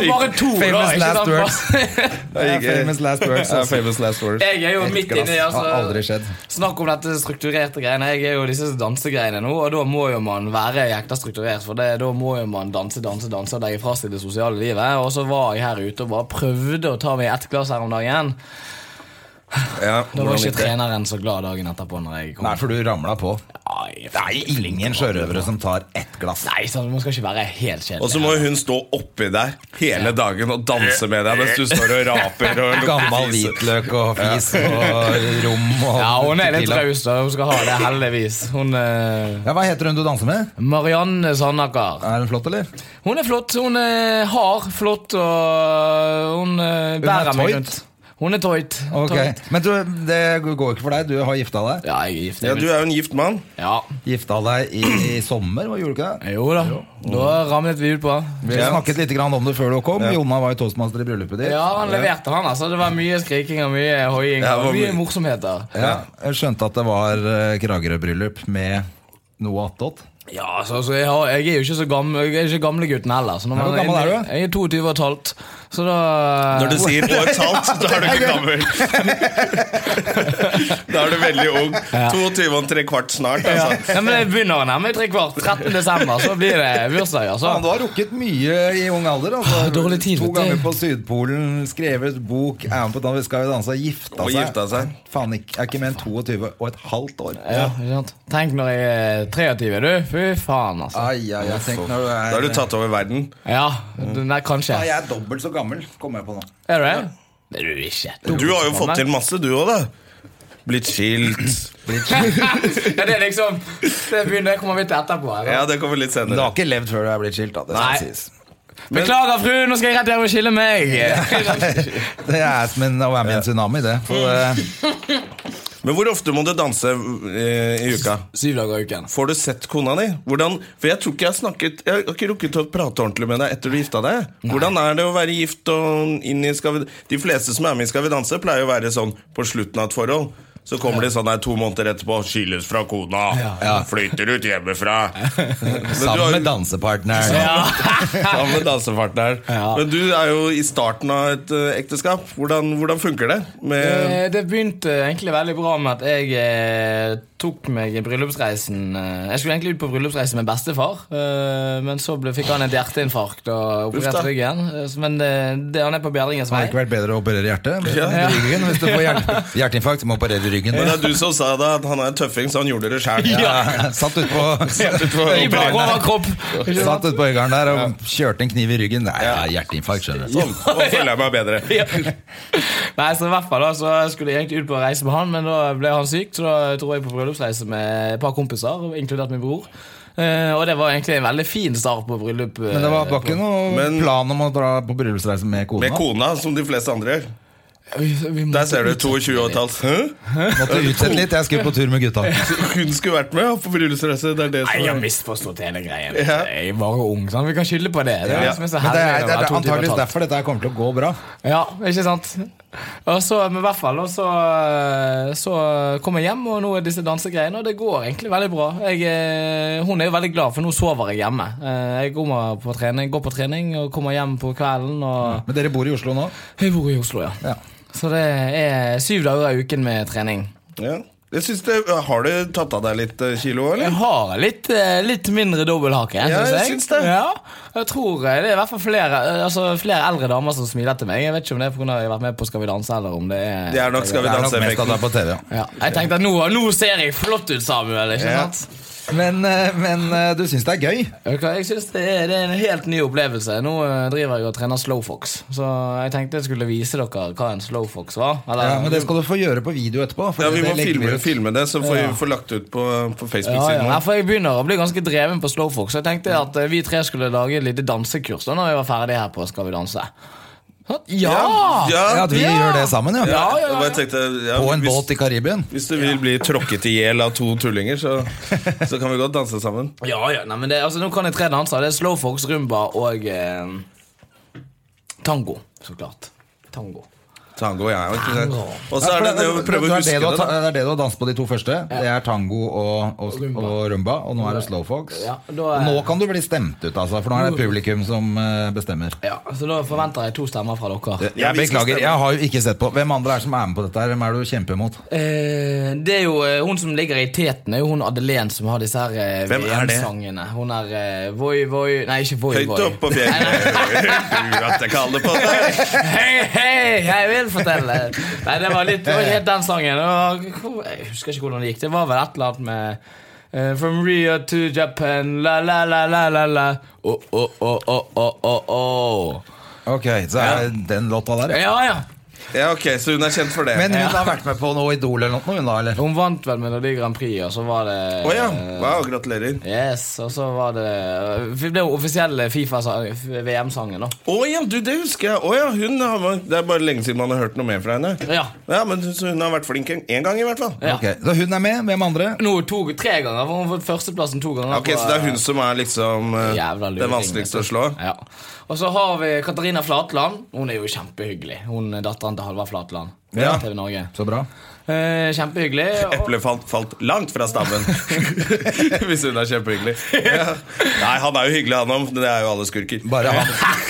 Speaker 3: bare to, da.
Speaker 1: Famous
Speaker 3: ikke
Speaker 1: last
Speaker 3: sant?
Speaker 1: Det er famous last words,
Speaker 2: Ja,
Speaker 1: altså.
Speaker 2: famous last words.
Speaker 3: Jeg er jo
Speaker 1: Et
Speaker 3: midt
Speaker 1: glass
Speaker 3: inni altså,
Speaker 1: har aldri skjedd.
Speaker 3: Snakk om dette strukturerte greiene. Jeg er jo disse dansegreiene nå, og da må jo man være jækla strukturert. For det, da må jo man danse, danse, danse og legge fra seg det sosiale livet. Og så var jeg her ute og bare prøvde å ta meg ett glass her om dagen.
Speaker 2: Ja,
Speaker 3: Da
Speaker 2: hvordan
Speaker 3: var ikke
Speaker 2: gikk det?
Speaker 3: treneren så glad dagen etterpå. når jeg kom
Speaker 1: Nei, for du ramla på.
Speaker 3: Nei,
Speaker 1: Det er ingen sjørøvere som tar ett glass.
Speaker 3: Nei, sant, man skal ikke være helt
Speaker 2: Og så
Speaker 3: kjedelig.
Speaker 2: må hun stå oppi der hele dagen og danse med deg mens du står og raper. Og lukter
Speaker 1: Gammel
Speaker 2: fise.
Speaker 1: hvitløk og fis og rom og
Speaker 3: Ja, Hun er litt
Speaker 1: tequila.
Speaker 3: raus, da. Hun skal ha det, heldigvis. Hun eh,
Speaker 1: Ja, Hva heter hun du danser med?
Speaker 3: Marianne Sandaker.
Speaker 1: Er hun flott, eller?
Speaker 3: Hun er flott. Hun er hard, flott, og hun eh, bærer meg
Speaker 1: toit?
Speaker 3: rundt. Hun er tøyt.
Speaker 1: Ok, Men du, det går ikke for deg. Du har gifta deg.
Speaker 3: Ja, jeg er gift.
Speaker 2: Ja, du er jo en gift mann.
Speaker 3: ja.
Speaker 1: Gifta deg i, i sommer, hva gjorde du ikke det?
Speaker 3: Jo da. Da ramlet vi ut på.
Speaker 1: Vi snakket litt grann om det før du kom.
Speaker 2: Ja.
Speaker 1: Jonna var jo toastmaster i bryllupet ditt.
Speaker 3: Ja, han leverte, han. altså Det var mye skriking og mye hoiing
Speaker 2: Ja, det var
Speaker 3: og mye
Speaker 2: mye.
Speaker 3: morsomheter.
Speaker 1: Ja, Jeg skjønte at det var eh, Kragerø-bryllup med noe attåt.
Speaker 3: Ja, altså, altså jeg, har, jeg er jo ikke så gammel Jeg er ikke gamlegutten heller. Så når
Speaker 1: Hvor
Speaker 3: man-
Speaker 1: gammel er du?
Speaker 3: Jeg er 22 og et halvt. Så da
Speaker 2: Når du sier år talt, da er du ikke gammel. Da er du veldig ung. 22 og tre kvart snart.
Speaker 3: ja.
Speaker 2: Altså.
Speaker 3: Nei, men Jeg begynner å nærme meg tre kvart. 13. desember, så blir det bursdag. altså
Speaker 1: Faen, du har rukket mye i ung alder. Altså.
Speaker 3: Ah, dårlig tid,
Speaker 1: to
Speaker 3: vet du.
Speaker 1: ganger på Sydpolen, skrevet bok, er med på Dan- Skal vi danse, gifta
Speaker 2: Og
Speaker 1: seg.
Speaker 2: gifta seg.
Speaker 1: Faen, ikke, er ikke mer enn 22 og et halvt år.
Speaker 3: Ja, ikke sant? Tenk når jeg er 23, du. Fy faen, altså.
Speaker 1: Ai, ai, jeg tenkte når du
Speaker 2: Da
Speaker 1: er
Speaker 2: har du tatt over verden.
Speaker 3: Ja, du- nei, kanskje.
Speaker 1: Nei, Jeg er dobbelt så gammel, kommer jeg på nå.
Speaker 3: Er du det? Det er du ikke.
Speaker 2: Du har jo fått til masse, du òg, da. Blitt skilt.
Speaker 3: Ja, det er liksom Det begynner jeg kommer vi til etterpå. her, da.
Speaker 2: Ja, det kommer litt
Speaker 1: Men du
Speaker 2: senere.
Speaker 1: har ikke levd før du er blitt skilt, da. Det,
Speaker 3: Nei.
Speaker 1: skal sies.
Speaker 3: Beklager, fru, nå skal jeg rett hjem og
Speaker 2: [LAUGHS]
Speaker 3: skille meg.
Speaker 1: det er som en, å være med i en tsunami, det. For, eh,
Speaker 2: Men hvor ofte må du danse eh, i uka?
Speaker 3: Syv dager i uken.
Speaker 2: Får du sett kona di? Hvordan, for Jeg tror ikke jeg har snakket Jeg har ikke rukket å prate ordentlig med deg etter du gifta deg. Hvordan er det å være gift og inn i skal vi, De fleste som er med i Skal vi danse, pleier å være sånn på slutten av et forhold. Så kommer de sånn her to måneder etterpå. 'Skilles fra kona. Flytter ut hjemmefra.'
Speaker 1: [LAUGHS]
Speaker 2: Men du
Speaker 1: sammen
Speaker 2: har jo
Speaker 1: med dansepartneren.
Speaker 2: [LAUGHS] sammen med dansepartneren.
Speaker 3: Ja.
Speaker 2: Men du er jo i starten av et eh, ekteskap. Hvordan, hvordan funker det?
Speaker 1: Eh.
Speaker 2: Med,
Speaker 3: Eh, Det begynte egentlig veldig bra med at jeg eh, tok meg i bryllupsreisen eh, Jeg skulle egentlig ut på bryllupsreise med bestefar, eh, men så ble, fikk han et hjerteinfarkt og
Speaker 2: Uff da.
Speaker 3: opererte ryggen. Eh, så- Men det, det, han er på bedringens
Speaker 1: Det
Speaker 3: vei.
Speaker 1: hadde ikke vært bedre å operere hjertet. Men ryggen, hvis du får hjerte, hjerteinfarkt, må du operere ryggen.
Speaker 2: men det er du som sa det, at han er en tøffing, så han gjorde det sjæl.
Speaker 1: [LAUGHS] Ja, satt ut på
Speaker 3: [LAUGHS] I bak overkropp.
Speaker 1: Satt ute på øygarden der og kjørte en kniv i ryggen. Nei, hjerteinfarkt, skjønner du. [LAUGHS]
Speaker 2: Sånn, nå føler jeg meg bedre.
Speaker 3: Nei, så i hvert fall da, så skulle jeg egentlig ut på å reise med han, men da ble han syk, så da dro jeg på bryllupsreise med et par kompiser, inkludert min bror. Eh, og det var egentlig en veldig fin start på bryllup. eh,
Speaker 1: Men det var, var ikke noen
Speaker 2: Men-
Speaker 1: plan om å dra på bryllupsreise med kona?
Speaker 2: Med kona, som de fleste andre gjør.
Speaker 3: Vi, vi måtte
Speaker 2: Der ser
Speaker 1: [LAUGHS]
Speaker 2: du
Speaker 3: ut-
Speaker 2: 22 og et halvt. Hæ?
Speaker 1: Måtte utsette litt, jeg skulle på tur med gutta.
Speaker 2: Hun skulle vært med ja, på bryllupsreise. Det er det
Speaker 3: Nei, jeg har
Speaker 2: som er.
Speaker 3: misforstått hele greien.
Speaker 2: Ja.
Speaker 3: Jeg var jo ung, sant? Vi kan skylde på det. Det er
Speaker 2: Ja.
Speaker 3: det som er så
Speaker 1: Men det er,
Speaker 3: herlig
Speaker 1: det
Speaker 3: når man
Speaker 1: er
Speaker 3: to timer
Speaker 1: antakeligvis
Speaker 3: talt.
Speaker 1: derfor dette her kommer til å gå bra.
Speaker 3: Ja, ikke sant? Og så, men i hvert fall, og så, så kom jeg hjem, og nå er disse dansegreiene, og det går egentlig veldig bra. Jeg, eh, hun er jo veldig glad, for nå sover jeg hjemme. Eh, Jeg kommer på trening, går på trening og kommer hjem på kvelden, og
Speaker 1: Men dere bor i Oslo nå?
Speaker 3: jeg bor i Oslo, ja.
Speaker 1: Ja.
Speaker 3: Så det er syv dager i uken med trening.
Speaker 2: Ja. Jeg synes det, har du tatt av deg litt eh, kilo,
Speaker 3: Jeg
Speaker 2: eller?
Speaker 3: har litt, eh, litt mindre dobbelthake.
Speaker 2: Ja,
Speaker 3: synes
Speaker 2: jeg syns det.
Speaker 3: Ja, jeg tror eh, det er i hvert fall flere, eh, altså, flere eldre damer som smiler til meg. Jeg vet ikke om det er pga. jeg har vært med på Skal vi danse, eller om det er
Speaker 2: Det er nok Skal
Speaker 1: Det
Speaker 2: vi
Speaker 1: er nok mest at det
Speaker 2: danse-effekten.
Speaker 1: er på TV, ja.
Speaker 3: Ja, jeg tenkte at nå, nå ser jeg flott ut, Samuel. ikke
Speaker 2: Ja.
Speaker 3: sant?
Speaker 1: Men, eh, men eh, du syns det er gøy?
Speaker 3: Vet du hva, Jeg synes det er, det er en helt ny opplevelse. Nå eh, driver jeg og trener slowfox. Så jeg tenkte jeg skulle vise dere hva en slowfox var. Eller,
Speaker 1: Ja, Men det skal du få gjøre på video etterpå. for
Speaker 2: Ja, Vi
Speaker 1: det
Speaker 2: må
Speaker 1: legger
Speaker 2: filme,
Speaker 1: ut.
Speaker 2: filme det, så får vi får lagt ut på, på
Speaker 3: ja, ja.
Speaker 2: Facebook-siden
Speaker 3: Nei,
Speaker 2: vår.
Speaker 3: for Jeg begynner å bli ganske dreven på slowfox. Så jeg tenkte at eh, vi tre skulle lage et lite dansekurs da når vi var ferdige her på Skal vi danse. Ja!
Speaker 2: Ja,
Speaker 1: Ja, at vi gjør det sammen, ja.
Speaker 2: Ja,
Speaker 3: ja, ja,
Speaker 2: jeg bare tenkte, ja,
Speaker 1: På en
Speaker 2: hvis,
Speaker 1: båt i Karibien.
Speaker 2: Hvis du vil bli tråkket i hjel av to tullinger,
Speaker 1: [LAUGHS]
Speaker 2: så, så kan vi godt danse sammen.
Speaker 3: Ja, ja, nei, men det, altså, Nå kan jeg tre danser. Det er slowfox, rumba og eh, tango. Så klart. Tango.
Speaker 2: Tango, ja. ikke sant?
Speaker 3: Tango.
Speaker 2: Og så er det det å prøve å
Speaker 1: det,
Speaker 2: huske det,
Speaker 1: er det, du har ta-
Speaker 2: da.
Speaker 1: det er det du har danset på de to første. Det er tango og, og,
Speaker 3: rumba.
Speaker 1: og rumba, og nå er det slowfox.
Speaker 3: Ja, da er-
Speaker 1: Nå kan du bli stemt ut, altså, for nå er det publikum som eh, bestemmer.
Speaker 3: Ja, Så da forventer jeg to stemmer fra
Speaker 2: Ja,
Speaker 3: dere.
Speaker 1: Jeg
Speaker 2: vi skal stemme.
Speaker 1: beklager, jeg har jo ikke sett på. Hvem andre er det som er med på dette? her? Hvem er det du kjemper mot?
Speaker 3: Eh, det er jo eh, Hun som ligger i teten, er jo hun Adelén som har disse her eh,
Speaker 2: Hvem er det?
Speaker 3: VM-sangene. Hun er eh, Voi Voi Nei, ikke Voi
Speaker 2: Høyt
Speaker 3: Voi.
Speaker 2: opp på
Speaker 3: [LAUGHS]
Speaker 2: fjellet. [LAUGHS] Du at jeg kaller på deg.
Speaker 3: Hei, hei, jeg vil fortelle. Nei, det var litt det var ikke helt den sangen. Og, jeg husker ikke hvordan det gikk. Det var vel et eller annet med eh, From Rio to Japan, la la la la la la oh, oh, oh, oh, oh, oh, oh.
Speaker 1: Ok, så er det den låta der. ja.
Speaker 3: Ja, ja.
Speaker 2: Ja, ok, så hun er kjent for det.
Speaker 1: Men hun
Speaker 3: Ja.
Speaker 1: har vært med på noe Idol eller noe, hun da? eller?
Speaker 3: Hun vant vel Melodi Grand Prix, og så var det
Speaker 2: Å ja. Wow, gratulerer.
Speaker 3: Yes, og så var det Det ble jo offisielle Fifa-VM-sangen, da.
Speaker 2: Å ja, du, det husker jeg. Å ja, hun har, Det er bare lenge siden man har hørt noe mer fra henne.
Speaker 3: Ja.
Speaker 2: ja men så hun har vært flink en- en gang, i hvert fall.
Speaker 3: Ja.
Speaker 1: Ok, Så hun er med. Hvem andre?
Speaker 3: Nå to, tre ganger. for Hun har fått førsteplassen to ganger.
Speaker 2: Ok,
Speaker 3: på-
Speaker 2: Så det er hun som er liksom eh,
Speaker 3: Jævla altså. luring,
Speaker 2: den vanskeligste å
Speaker 3: vet du.
Speaker 2: slå?
Speaker 3: Ja. Og så har vi Katarina Flatland. Hun er jo kjempehyggelig. Hun er datteren til Halvard Flatland.
Speaker 1: Ja.
Speaker 3: TV Norge.
Speaker 1: Så bra.
Speaker 3: Eh, kjempehyggelig. Og,
Speaker 2: Eplet falt, falt langt fra stammen. [LAUGHS] Hvis hun er kjempehyggelig. Ja. Nei, han er jo hyggelig, han òg. Det er jo alle skurker.
Speaker 1: Bare han. [LAUGHS]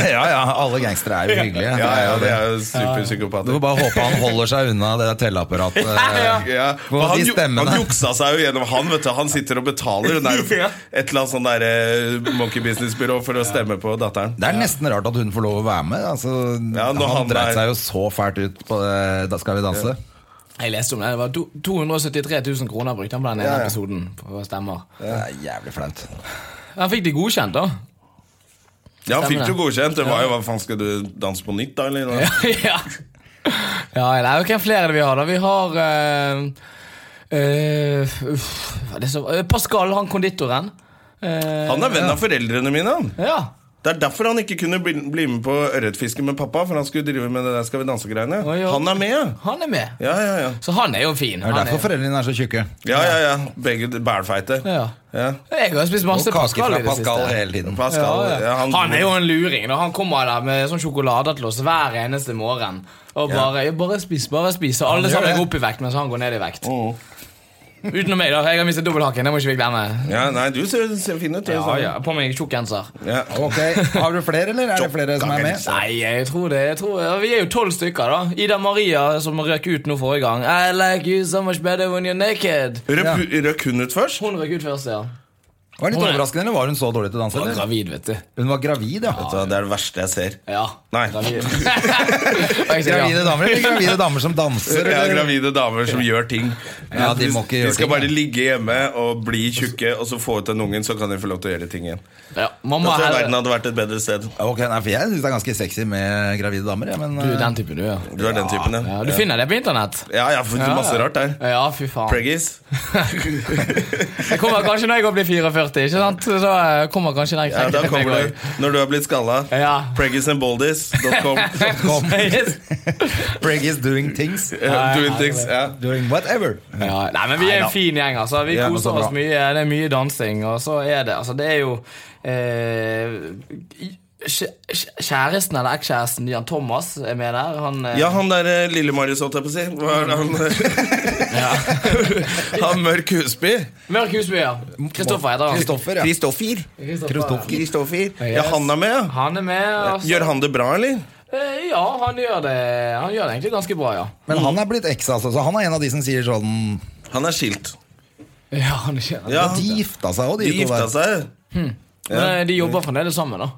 Speaker 1: Ja ja, alle gangstere er jo hyggelige.
Speaker 2: Ja, ja,
Speaker 1: Det
Speaker 2: det
Speaker 1: er
Speaker 2: er
Speaker 1: jo det.
Speaker 2: jo
Speaker 1: Du
Speaker 2: superpsykopater.
Speaker 1: får bare håpe han holder seg unna det der telleapparatet. eh,
Speaker 2: [LAUGHS] Ja.
Speaker 1: Hvor
Speaker 2: men Han,
Speaker 1: de
Speaker 2: ju-
Speaker 1: stemmene-
Speaker 2: han juksa seg jo gjennom han, vet du. Han sitter og
Speaker 3: [LAUGHS]
Speaker 2: betaler. Hun er jo
Speaker 3: Ja.
Speaker 2: et eller annet sånn der eh, monkey business-byrå for å stemme på datteren.
Speaker 1: Det er nesten rart at hun får lov å være med. Altså,
Speaker 2: Ja,
Speaker 1: han
Speaker 2: når han
Speaker 1: dreit
Speaker 2: er-
Speaker 1: seg jo så fælt ut på det Da skal vi danse.
Speaker 3: jeg leste om det. Det var to, 273 000 kroner brukte han på den ene episoden. På stemmer.
Speaker 1: Det er jævlig flaut.
Speaker 3: Han fikk de godkjent, da. [LAUGHS]
Speaker 2: Ja, han fikk
Speaker 3: Stemmer
Speaker 2: jo
Speaker 3: det.
Speaker 2: godkjent. Det var jo hva faen, skal du danse på nytt, da? Eller? noe?
Speaker 3: ja. ja nei, og Hvem flere er det vi har, da? Vi har eh, eh, uff, hva er det som, eh, Pascal, han konditoren. Eh,
Speaker 2: Han er venn av foreldrene mine. han
Speaker 3: ja.
Speaker 2: Det er derfor han ikke kunne bli bli med på ørretfiske med pappa. For han skulle drive med det der Skal vi danse-greiene.
Speaker 3: Oi, oi.
Speaker 2: Han er med!
Speaker 3: Han er med.
Speaker 2: Ja, ja, ja.
Speaker 3: Så han er jo fin.
Speaker 1: Det er
Speaker 3: Han
Speaker 1: derfor foreldrene dine er så tjukke.
Speaker 2: Ja, ja, ja. Begge bælfeite.
Speaker 3: Ja.
Speaker 2: Ja.
Speaker 3: Jeg har spist masse
Speaker 1: Og kake fra
Speaker 3: Pascal i det
Speaker 1: Pascal
Speaker 3: siste.
Speaker 1: hele tiden.
Speaker 2: Pascal,
Speaker 3: Ja,
Speaker 2: ja,
Speaker 3: ja. Han, er jo en luring. Da. Han kommer der med sånn sjokolader til oss hver eneste morgen. Og bare, ja. bare spis, bare spis. Og alle
Speaker 1: gjør
Speaker 3: sammen
Speaker 1: det.
Speaker 3: går opp i vekt mens han går ned i vekt.
Speaker 2: Mm.
Speaker 3: Utenom meg, da. Jeg har mistet dobbelthaken. Det må ikke vi glemme.
Speaker 2: Ja, nei, du ser, ser fin ut. du,
Speaker 3: Ja,
Speaker 2: sånn.
Speaker 3: ja. På meg tjukk genser.
Speaker 2: Ja.
Speaker 1: Ok, Har du flere, eller er det flere som er med?
Speaker 3: Nei, jeg tror det. Jeg tror, ja, vi er jo tolv stykker, da. Ida Maria, som røk ut nå forrige gang. I like you so much better when you're naked.
Speaker 2: Røp, Røk hun ut først?
Speaker 3: Hun røk ut først, ja.
Speaker 1: Var det litt overraskende, eller var hun så dårlig til å danse?
Speaker 3: Hun var
Speaker 1: Eller?
Speaker 3: gravid, vet du.
Speaker 1: Hun var gravid, ja.
Speaker 2: Så det er det verste jeg ser.
Speaker 3: Ja.
Speaker 2: Nei.
Speaker 3: [LAUGHS] Gravid. Jeg sier ja.
Speaker 1: Gravide damer eller gravide damer som danser?
Speaker 2: Ja,
Speaker 1: Eller?
Speaker 2: gravide damer som gjør ting.
Speaker 1: Ja, de må ikke gjøre
Speaker 2: de skal
Speaker 1: ting,
Speaker 2: bare
Speaker 1: ja.
Speaker 2: ligge hjemme og bli tjukke, og så få ut den ungen, så kan de få lov til å gjøre ting igjen.
Speaker 3: Ja,
Speaker 2: Da
Speaker 3: mamma
Speaker 2: tror jeg
Speaker 3: er
Speaker 2: verden hadde vært et bedre sted.
Speaker 1: Ok, nei, for Jeg syns det er ganske sexy med gravide damer. Ja, men,
Speaker 3: Du er
Speaker 1: eh,
Speaker 3: den typen du, ja.
Speaker 2: Du er den typen, ja.
Speaker 3: ja du finner det på internett.
Speaker 2: Ja, jeg har funnet masse rart der.
Speaker 3: Ja, fy faen.
Speaker 2: Preggies.
Speaker 3: Jeg kommer kanskje når jeg går blir 44, ikke sant? Så eh, kommer kanskje den
Speaker 2: Ja,
Speaker 3: [LAUGHS]
Speaker 2: da
Speaker 3: knekken til
Speaker 2: kommer
Speaker 3: meg
Speaker 2: du når du har blitt skalla.
Speaker 3: Ja. [LAUGHS]
Speaker 2: Preggiesandboldies.com.
Speaker 1: eh, [LAUGHS]
Speaker 3: Yes.
Speaker 1: Preggies doing things.
Speaker 2: Doing things. Ja.
Speaker 1: Doing whatever.
Speaker 3: Ja, nei, men vi er en fin gjeng, altså. Vi
Speaker 1: Ja, men så
Speaker 3: koser oss
Speaker 1: bra.
Speaker 3: mye. Det er mye dansing, og så er det Altså, det er jo eh, kjæ- kjæ- Kjæresten eller ekskjæresten Jan Thomas er med der. Han, eh,
Speaker 2: Ja, han der eh, lille Marius, holdt jeg på å si. Hva er det han [LAUGHS] Han Mørk Husby.
Speaker 3: Mørk Husby, ja. Kristoffer heter han.
Speaker 1: Kristoffer, ja.
Speaker 2: Kristoffer.
Speaker 3: Kristoffer.
Speaker 2: Kristoffer. Ja,
Speaker 3: Yes.
Speaker 2: han er med, ja.
Speaker 3: Han er med. og så-
Speaker 2: Gjør han det bra, eller?
Speaker 3: Eh, Ja, han gjør det Han gjør det egentlig ganske bra, ja.
Speaker 1: Men han er blitt eks, altså. Så han er en av de som sier sånn
Speaker 2: Han er skilt.
Speaker 3: Ja, han kjenner det.
Speaker 2: Ja,
Speaker 1: Og de gifta seg òg, de,
Speaker 2: De
Speaker 1: to
Speaker 2: gifta
Speaker 1: der.
Speaker 2: seg.
Speaker 3: Men eh, de jobber fremdeles sammen, da.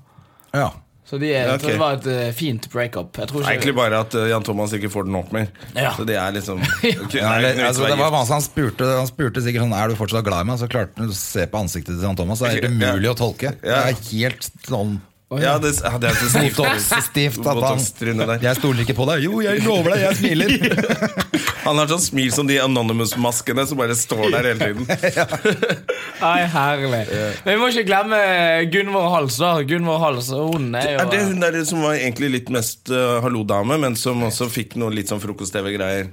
Speaker 1: Ja.
Speaker 3: Så de er,
Speaker 2: Ja,
Speaker 3: jeg tror
Speaker 2: ok.
Speaker 3: det var et eh, fint breakup. Jeg tror
Speaker 2: Det er egentlig
Speaker 3: ikke
Speaker 2: bare at eh, Jan Thomas ikke får den opp mer.
Speaker 3: Ja.
Speaker 2: Så det er liksom Ok,
Speaker 1: Ja,
Speaker 2: nei,
Speaker 1: eller,
Speaker 2: vi kan ikke
Speaker 1: altså,
Speaker 2: være
Speaker 1: det var
Speaker 2: gift.
Speaker 1: vanskelig. Han spurte, han spurte sikkert sånn Er du fortsatt glad i meg? Så klarte han å se på ansiktet til han Thomas. Det er helt
Speaker 2: Ja.
Speaker 1: umulig å tolke. Det
Speaker 2: Ja.
Speaker 1: er helt sånn
Speaker 2: Ja, det, ja, det er så stivt.
Speaker 1: Botox-stivt at han
Speaker 2: Botox-trynet der. [LAUGHS]
Speaker 1: Jeg stoler ikke på deg. Jo, jeg lover deg, jeg smiler.
Speaker 2: Han har sånn smil som de Anonymous-maskene som bare står der hele tiden.
Speaker 3: Nei, herlig. Men vi må ikke glemme Gunvor Hals. da Gunvor Hals, Hun er jo
Speaker 2: Er det hun der som var egentlig litt mest uh, hallo-dame, men som også fikk noe litt sånn frokost-TV-greier?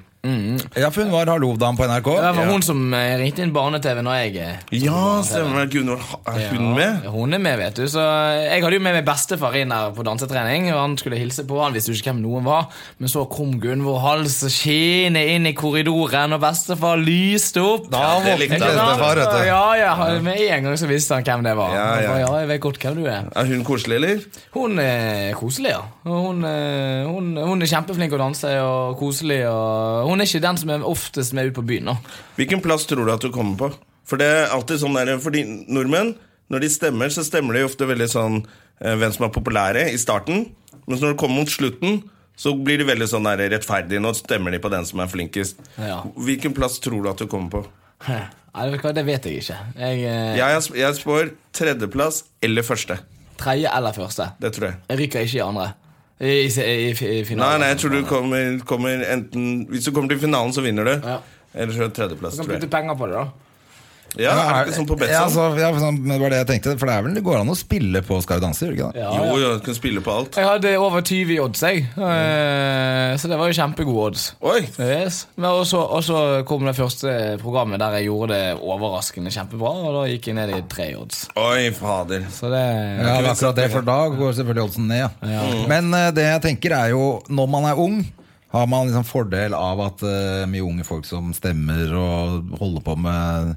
Speaker 1: Ja, for hun var hallovdam på NRK.
Speaker 3: Det var hun som eh, ringte inn barne-TV når jeg eh,
Speaker 2: Ja, stemmer det. Gunvor, er hun med?
Speaker 3: Ja, hun er med, vet du. Så eh, jeg hadde jo med meg bestefar inn her på dansetrening. Og Han skulle hilse på, han visste jo ikke hvem noen var. Men så kom Gunvor Hals skiende inn i korridoren, og bestefar lyste opp.
Speaker 1: Da
Speaker 2: Ja, det
Speaker 1: våknet
Speaker 2: likte jeg.
Speaker 1: bestefar, vet du.
Speaker 3: Ja, ja, Med en gang så visste han hvem det var.
Speaker 2: Ja,
Speaker 3: Han
Speaker 2: ja.
Speaker 3: bare, ja, jeg vet godt hvem du er.
Speaker 2: Er hun koselig, eller?
Speaker 3: Hun er koselig, ja. Hun, eh, hun, hun er kjempeflink å danse og koselig. Og hun er ikke den som er oftest med ut på byen. nå. [LAUGHS]
Speaker 2: Hvilken plass tror du at du kommer på? For det er alltid sånn der, fordi nordmenn, når de stemmer, så stemmer de ofte veldig sånn eh, hvem som er populære i starten. Mens når det kommer mot slutten, så blir de veldig sånn der rettferdige. Nå stemmer de på den som er flinkest.
Speaker 3: Ja.
Speaker 2: Hvilken plass tror du at du kommer på?
Speaker 3: Nei, vet du hva, det vet jeg ikke. Jeg eh,
Speaker 2: Jeg, jeg spår tredjeplass eller første.
Speaker 3: Tredje eller første.
Speaker 2: Det tror jeg.
Speaker 3: Jeg ryker ikke i andre. I, i, i, i
Speaker 2: Nei,
Speaker 3: finalen.
Speaker 2: nei, jeg tror du kommer, kommer enten Hvis du kommer til finalen, så vinner du.
Speaker 3: Ja.
Speaker 2: Eller så er det tredjeplass,
Speaker 3: Du kan
Speaker 2: tror
Speaker 3: putte
Speaker 2: jeg.
Speaker 3: penger på det, da.
Speaker 2: Ja, er det ikke sånn på
Speaker 1: Ja,
Speaker 2: Betson?
Speaker 1: altså, ja, for sånn, men det var det jeg tenkte. For det er vel det går an å spille på Skal vi danse, gjør det ikke det?
Speaker 3: Ja,
Speaker 2: Jo,
Speaker 3: ja.
Speaker 2: jo, du kan spille på alt.
Speaker 3: Jeg hadde over 20 i odds, jeg.
Speaker 2: Mm.
Speaker 3: Eh, Så det var jo kjempegode odds.
Speaker 2: Oi!
Speaker 3: Yes. Men også, og så kom det første programmet der jeg gjorde det overraskende kjempebra, og da gikk jeg ned i tre odds.
Speaker 2: Oi, fader.
Speaker 3: Så det
Speaker 1: Ja, det er akkurat det, for da går selvfølgelig oddsen ned. Ja. Men eh, det jeg tenker er jo, når man er ung, har man liksom fordel av at eh, mye unge folk som stemmer og holder på med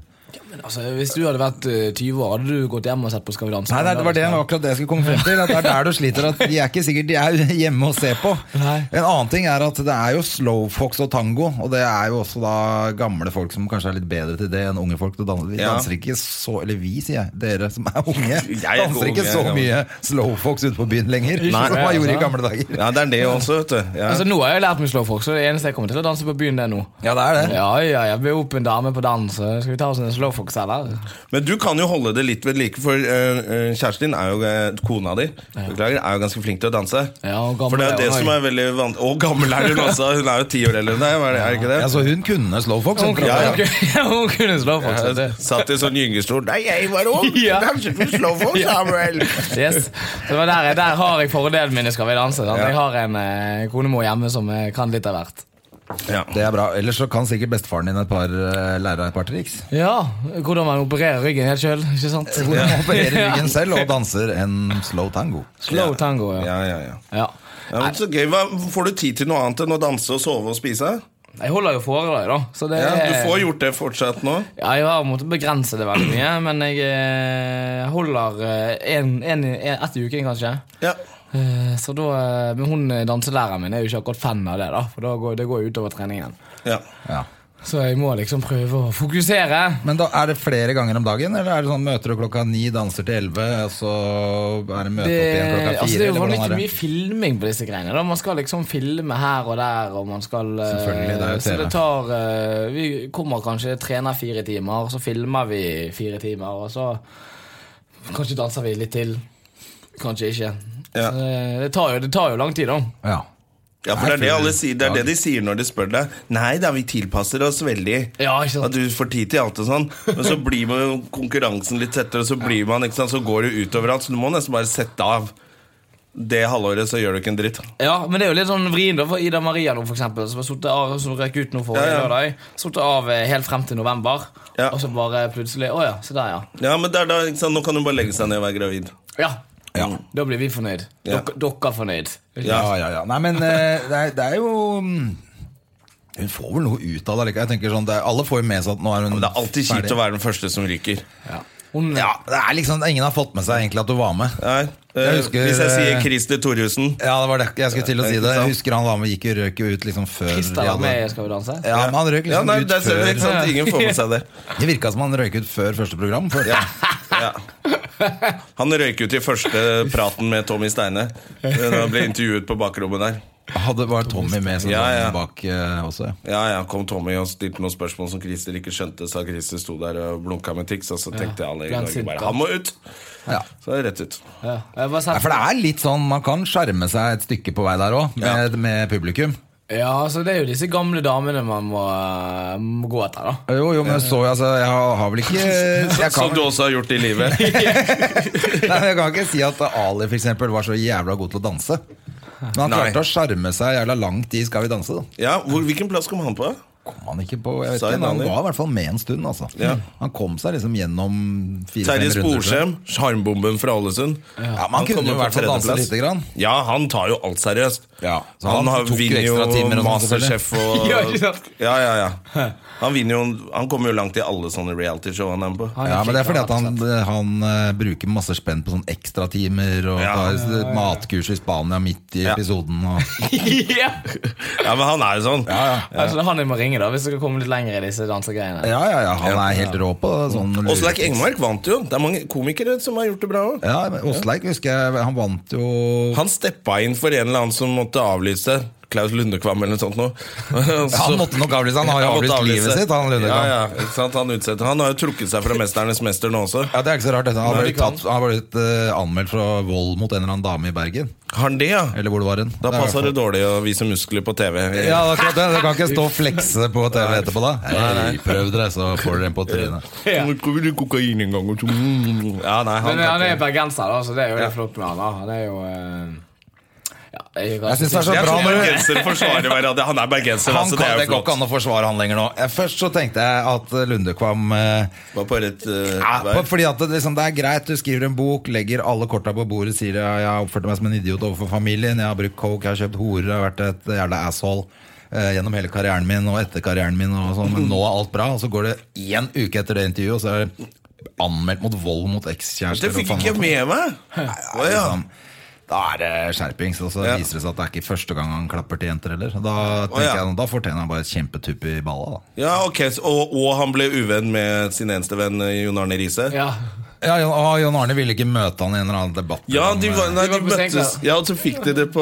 Speaker 3: Men altså, Hvis du hadde vært eh, 20 år, hadde du gått hjem og sett på Skal vi danse?
Speaker 1: Nei, det, er- det var det, det var akkurat det jeg skulle komme frem til. At det er der du sliter. At de er ikke sikkert de er [LAUGHS] hjemme og ser på.
Speaker 3: Nei.
Speaker 1: En annen ting er at det er jo slowfox og tango, og det er jo også da gamle folk som kanskje er litt bedre til det enn unge folk. til å danse. Vi
Speaker 2: Ja.
Speaker 1: danser ikke så Eller vi, sier jeg. Dere som er
Speaker 2: [LAUGHS]
Speaker 1: unge.
Speaker 2: Jeg er ikke
Speaker 1: Danser ikke
Speaker 2: unge,
Speaker 1: så
Speaker 2: jeg er
Speaker 1: mye slowfox ute på byen lenger, som man gjorde i gamle dager.
Speaker 2: Ja, det er det også, vet du. Ja.
Speaker 3: Altså, Nå har jeg lært meg slowfox, så det eneste jeg kommer til å danse på byen, det er nå.
Speaker 1: Ja, det er det.
Speaker 3: Ja, ja, jeg blir opp en dame på dans. så Skal vi ta oss en slowfox, eller?
Speaker 2: Men du kan jo holde det litt ved like, for eh, eh, kjæresten din, er jo, eh, kona di, beklager, er jo ganske flink til å danse.
Speaker 3: Ja, og gammel
Speaker 2: for det er
Speaker 3: er
Speaker 2: jo det
Speaker 3: hun
Speaker 2: som
Speaker 3: også.
Speaker 2: er veldig vant... Og gammel er hun også! Hun er jo ti år eldre enn deg, var det- er det ikke det?
Speaker 1: Ja, så hun kunne slowfox? hun.
Speaker 2: Ja, ja.
Speaker 3: [LAUGHS] Hun kunne slowfox. vet du.
Speaker 2: Jeg Satt i sånn gyngestol. Nei, jeg var ung!
Speaker 3: [LAUGHS] Ja.
Speaker 2: Kanskje du slår
Speaker 3: [LAUGHS]
Speaker 2: for Samuel!
Speaker 3: Yes. Så det var der, der har jeg fordelen min i Skal vi danse. Sant? Jeg har en eh, konemor hjemme som eh, kan litt av hvert.
Speaker 2: Ja.
Speaker 1: Det er bra. Ellers så kan sikkert bestefaren din et par, eh, lære deg et par triks.
Speaker 3: Ja, hvordan man opererer ryggen helt sjøl. Ikke sant?
Speaker 1: Hvor han opererer ryggen selv og danser en slow tango.
Speaker 3: Slow tango, ja.
Speaker 2: Ja, ja, ja.
Speaker 3: ja.
Speaker 2: ja men så gøy. Hva, får du tid til noe annet enn å danse og sove og spise?
Speaker 3: Jeg holder jo foredrag, da. Så det
Speaker 2: Ja, du
Speaker 3: er-
Speaker 2: får gjort det fortsatt nå.
Speaker 3: Ja, jeg har måttet begrense det veldig mye, men jeg eh, holder eh, en, en, en, ett i uken, kanskje.
Speaker 2: Ja.
Speaker 3: Eh, Så da, eh, men hun eh, danselæreren min er jo ikke akkurat fan av det, da. For da går, det går jo utover treningen.
Speaker 2: ja.
Speaker 1: Ja.
Speaker 3: Så jeg må liksom prøve å fokusere.
Speaker 1: Men da er det flere ganger om dagen, eller er det sånn møter du klokka ni, danser til elleve, og så er det møte opp igjen klokka fire?
Speaker 3: altså det er jo
Speaker 1: eller hvordan er
Speaker 3: vanvittig
Speaker 1: det?
Speaker 3: mye filming på disse greiene. Da. Man skal liksom filme her og der, og man skal eh,
Speaker 1: Selvfølgelig, det er jo
Speaker 3: Så
Speaker 1: TV.
Speaker 3: det tar eh, Vi kommer kanskje, trener fire timer, så filmer vi fire timer, og så Kanskje danser vi litt til. Kanskje ikke.
Speaker 2: Ja.
Speaker 3: Så det, det, tar jo, det tar jo lang tid, da.
Speaker 1: Ja.
Speaker 2: Ja, for det er det alle sier. Det er det de sier når de spør deg. Nei da, vi tilpasser oss veldig.
Speaker 3: Ja, ikke sant?
Speaker 2: [LAUGHS] At du får tid til alt og sånn. Men så blir man jo konkurransen litt tettere, og så blir man, ikke sant, så går det utover alt. Så du må nesten bare sette av. Det halvåret så gjør du ikke en dritt.
Speaker 3: Ja, men det er jo litt sånn vrien da for Ida Maria nå for eksempel Som, har suttet av, som røk ut nå for
Speaker 2: Ja, ja.
Speaker 3: lørdag Suttet av eh, helt frem til november
Speaker 2: Ja.
Speaker 3: Og så bare plutselig, åja, se der ja
Speaker 2: Ja, men det er da, ikke sant, Nå kan du bare legge seg ned og være gravid.
Speaker 3: Ja, Da blir vi fornøyd.
Speaker 2: Ja.
Speaker 3: Dere, dere er fornøyd.
Speaker 1: Ja, ja, ja. Nei, men eh, det er, det er jo mm, Hun får vel noe ut av det likevel. Jeg tenker sånn, det er, alle får jo med seg at nå er hun
Speaker 2: Det er alltid kjipt å være den første som ryker.
Speaker 3: Hun,
Speaker 1: Ja, det er liksom, Ingen har fått med seg egentlig at du var med.
Speaker 2: Nei, eh,
Speaker 1: Jeg husker,
Speaker 2: hvis jeg
Speaker 1: eh,
Speaker 2: sier Christer Thorjussen
Speaker 1: Ja, det var det jeg skulle til å si. det
Speaker 2: Ikke sant?
Speaker 1: Jeg husker han var med, gikk jo røk jo ut liksom før
Speaker 3: Christer
Speaker 1: de
Speaker 3: var
Speaker 1: hadde-
Speaker 3: med i Skal vi danse.
Speaker 1: Ja, men han
Speaker 2: ja,
Speaker 1: røk liksom
Speaker 2: nei,
Speaker 1: ut
Speaker 2: det, er-
Speaker 1: før
Speaker 2: ikke sant, Ingen får med seg
Speaker 1: [LAUGHS]
Speaker 2: det.
Speaker 1: Det virka som han røyk ut før første program. Før.
Speaker 2: Ja. Han røyk ut i første praten med Tommy Steine. Da ble intervjuet på bakrommet der.
Speaker 1: Hadde bare Tommy med som
Speaker 2: Ja,
Speaker 1: sang
Speaker 2: ja.
Speaker 1: bak eh, også. ja.
Speaker 2: Ja, ja, kom Tommy og stilte noen spørsmål som Christer ikke skjønte, sa Christer sto der og blunka med tics, og så tenkte alle i
Speaker 3: ble han
Speaker 2: Norge
Speaker 3: sint,
Speaker 2: bare
Speaker 3: da?
Speaker 2: 'han må ut'!
Speaker 1: Ja.
Speaker 2: Så er det rett ut.
Speaker 3: Ja. Jeg har bare
Speaker 1: Nei,
Speaker 3: sett,
Speaker 1: for det er litt sånn, Man kan skjerme seg et stykke på vei der òg, med, med publikum.
Speaker 3: Ja, så det er jo disse gamle damene man må, må gå etter,
Speaker 1: [LAUGHS]
Speaker 3: da.
Speaker 1: Jo, jo, men så, altså, jeg har vel ikke jeg kan,
Speaker 2: Som du også har gjort i
Speaker 3: [LAUGHS]
Speaker 2: livet.
Speaker 1: nei, jeg kan ikke si at Ali for eksempel, var så jævla god til å danse. Men han
Speaker 2: Nei.
Speaker 1: klarte å sjarme seg jævla langt i Skal vi danse. da
Speaker 2: Ja, hvor, Hvilken plass kom han på?
Speaker 1: Kom Han ikke på, jeg vet
Speaker 2: Sa
Speaker 1: ikke,
Speaker 2: en
Speaker 1: men han
Speaker 2: annen.
Speaker 1: var i hvert fall med en stund. Altså.
Speaker 2: Ja.
Speaker 1: Han kom seg liksom gjennom fire-fem
Speaker 2: Terje
Speaker 1: runder.
Speaker 2: Sporsem, sjarmbomben fra Ålesund.
Speaker 1: Ja, men han kunne
Speaker 2: kommer
Speaker 1: jo i
Speaker 2: på
Speaker 1: hvert fall danse
Speaker 2: tredjeplass.
Speaker 1: lite grann.
Speaker 2: Ja, han tar jo alt seriøst.
Speaker 1: Ja, så
Speaker 2: han
Speaker 1: han
Speaker 2: har,
Speaker 1: tok jo
Speaker 2: vinner jo
Speaker 1: ekstra timer og sånn,
Speaker 2: Masterchef og
Speaker 3: [LAUGHS] Ja, ikke sant?
Speaker 2: Ja, ja, ja. Han, vinner jo, han kommer jo langt i alle sånne realityshow han er med på.
Speaker 3: Han
Speaker 1: Ja, men Det er fordi
Speaker 3: flink,
Speaker 1: at han, han eh, bruker masse spenn på sånn ekstratimer og
Speaker 2: Ja.
Speaker 1: tar eh, matkurs i Spania midt i
Speaker 2: Ja.
Speaker 1: episoden. Og,
Speaker 3: ja.
Speaker 2: Ja, men han er jo sånn.
Speaker 3: Altså, det er han jeg må ringe, da, hvis jeg skal komme litt lenger i disse dansegreiene.
Speaker 1: ja, ja, ja, Han er helt rå på sånn
Speaker 2: Åslaug
Speaker 1: luretriks.
Speaker 2: Engmark vant jo. Det er mange komikere som har gjort det bra òg.
Speaker 1: Ja, men Åsleik husker jeg Han vant jo
Speaker 2: Han steppa inn for en eller annen som måtte avlyse. Klaus Lundekvam eller noe sånt
Speaker 1: [LAUGHS]
Speaker 2: noe.
Speaker 1: Han måtte nok avlyse, han har jo
Speaker 2: Han måtte
Speaker 1: avlyst
Speaker 2: avlyse.
Speaker 1: livet sitt. Han,
Speaker 2: ja,
Speaker 1: Lundekvam.
Speaker 2: ja, ikke sant? han utsetter. Han har jo trukket seg fra 'Mesternes mester' nå også.
Speaker 1: Ja, Det er ikke så rart. Dette. Han har
Speaker 2: Nei,
Speaker 1: blitt,
Speaker 2: det kan.
Speaker 1: tatt, han har blitt eh, anmeldt for vold mot en eller annen dame i Bergen.
Speaker 2: Har han det, ja?
Speaker 1: Eller hvor det var hen.
Speaker 2: Da
Speaker 1: er i
Speaker 2: passer
Speaker 1: hvert
Speaker 2: det dårlig å vise muskler på TV.
Speaker 1: fall- Ja, det er akkurat det. Du kan ikke stå og flekse på TV etterpå, da. Hei, prøv dere, så får dere en på trynet.
Speaker 3: Ja.
Speaker 2: Nå prøver du kokain en gang og to. Ja, nei, han,
Speaker 3: Men han er bergenser, da, så det er jo litt flott med han. da Han er jo eh, ja, jeg,
Speaker 1: Jeg synes det er så
Speaker 2: Jeg
Speaker 1: bra
Speaker 2: tror
Speaker 1: når du
Speaker 2: bergensere forsvarer hverandre. Han er bergenser,
Speaker 1: han
Speaker 2: altså. Det
Speaker 1: kan,
Speaker 2: er
Speaker 1: det
Speaker 2: jo
Speaker 1: går ikke
Speaker 2: flott.
Speaker 1: an å forsvare han lenger nå. Eh, Først så tenkte jeg at eh, Lundekvam eh,
Speaker 2: Var på rett eh,
Speaker 1: ja,
Speaker 2: vei.
Speaker 1: på- Fordi at det, liksom, det er greit, du skriver en bok, legger alle korta på bordet, sier ja, jeg har oppført meg som en idiot overfor familien, jeg har brukt coke, jeg har kjøpt horer, jeg har vært et jævla asshole eh, gjennom hele karrieren min og etter karrieren min, og sånn, men nå er alt bra. Og så går det én uke etter det intervjuet, og så er det anmeldt mot vold mot
Speaker 2: Det
Speaker 1: ekskjærester. og
Speaker 2: fikk
Speaker 1: faen
Speaker 2: ikke
Speaker 1: meg-
Speaker 2: jeg med meg. Å, ja.
Speaker 1: liksom, da er det skjerpings. Og så
Speaker 2: Ja.
Speaker 1: viser det seg at det er ikke første gang han klapper til jenter heller. Da tenker
Speaker 2: Å, ja.
Speaker 1: jeg, da fortjener han bare et kjempetupp i balla. da
Speaker 2: ja, ok så- og, og han ble uvenn med sin eneste venn eh, Jon Arne Riise.
Speaker 3: ja.
Speaker 1: Ja, Jon, å, Jon Arne ville ikke møte han i en eller annen debatt.
Speaker 2: Ja,
Speaker 1: om,
Speaker 2: de, var,
Speaker 1: eh,
Speaker 2: nei,
Speaker 3: De
Speaker 2: de
Speaker 3: var på
Speaker 2: møttes
Speaker 3: Senkveld.
Speaker 2: Ja, og så fikk de det på,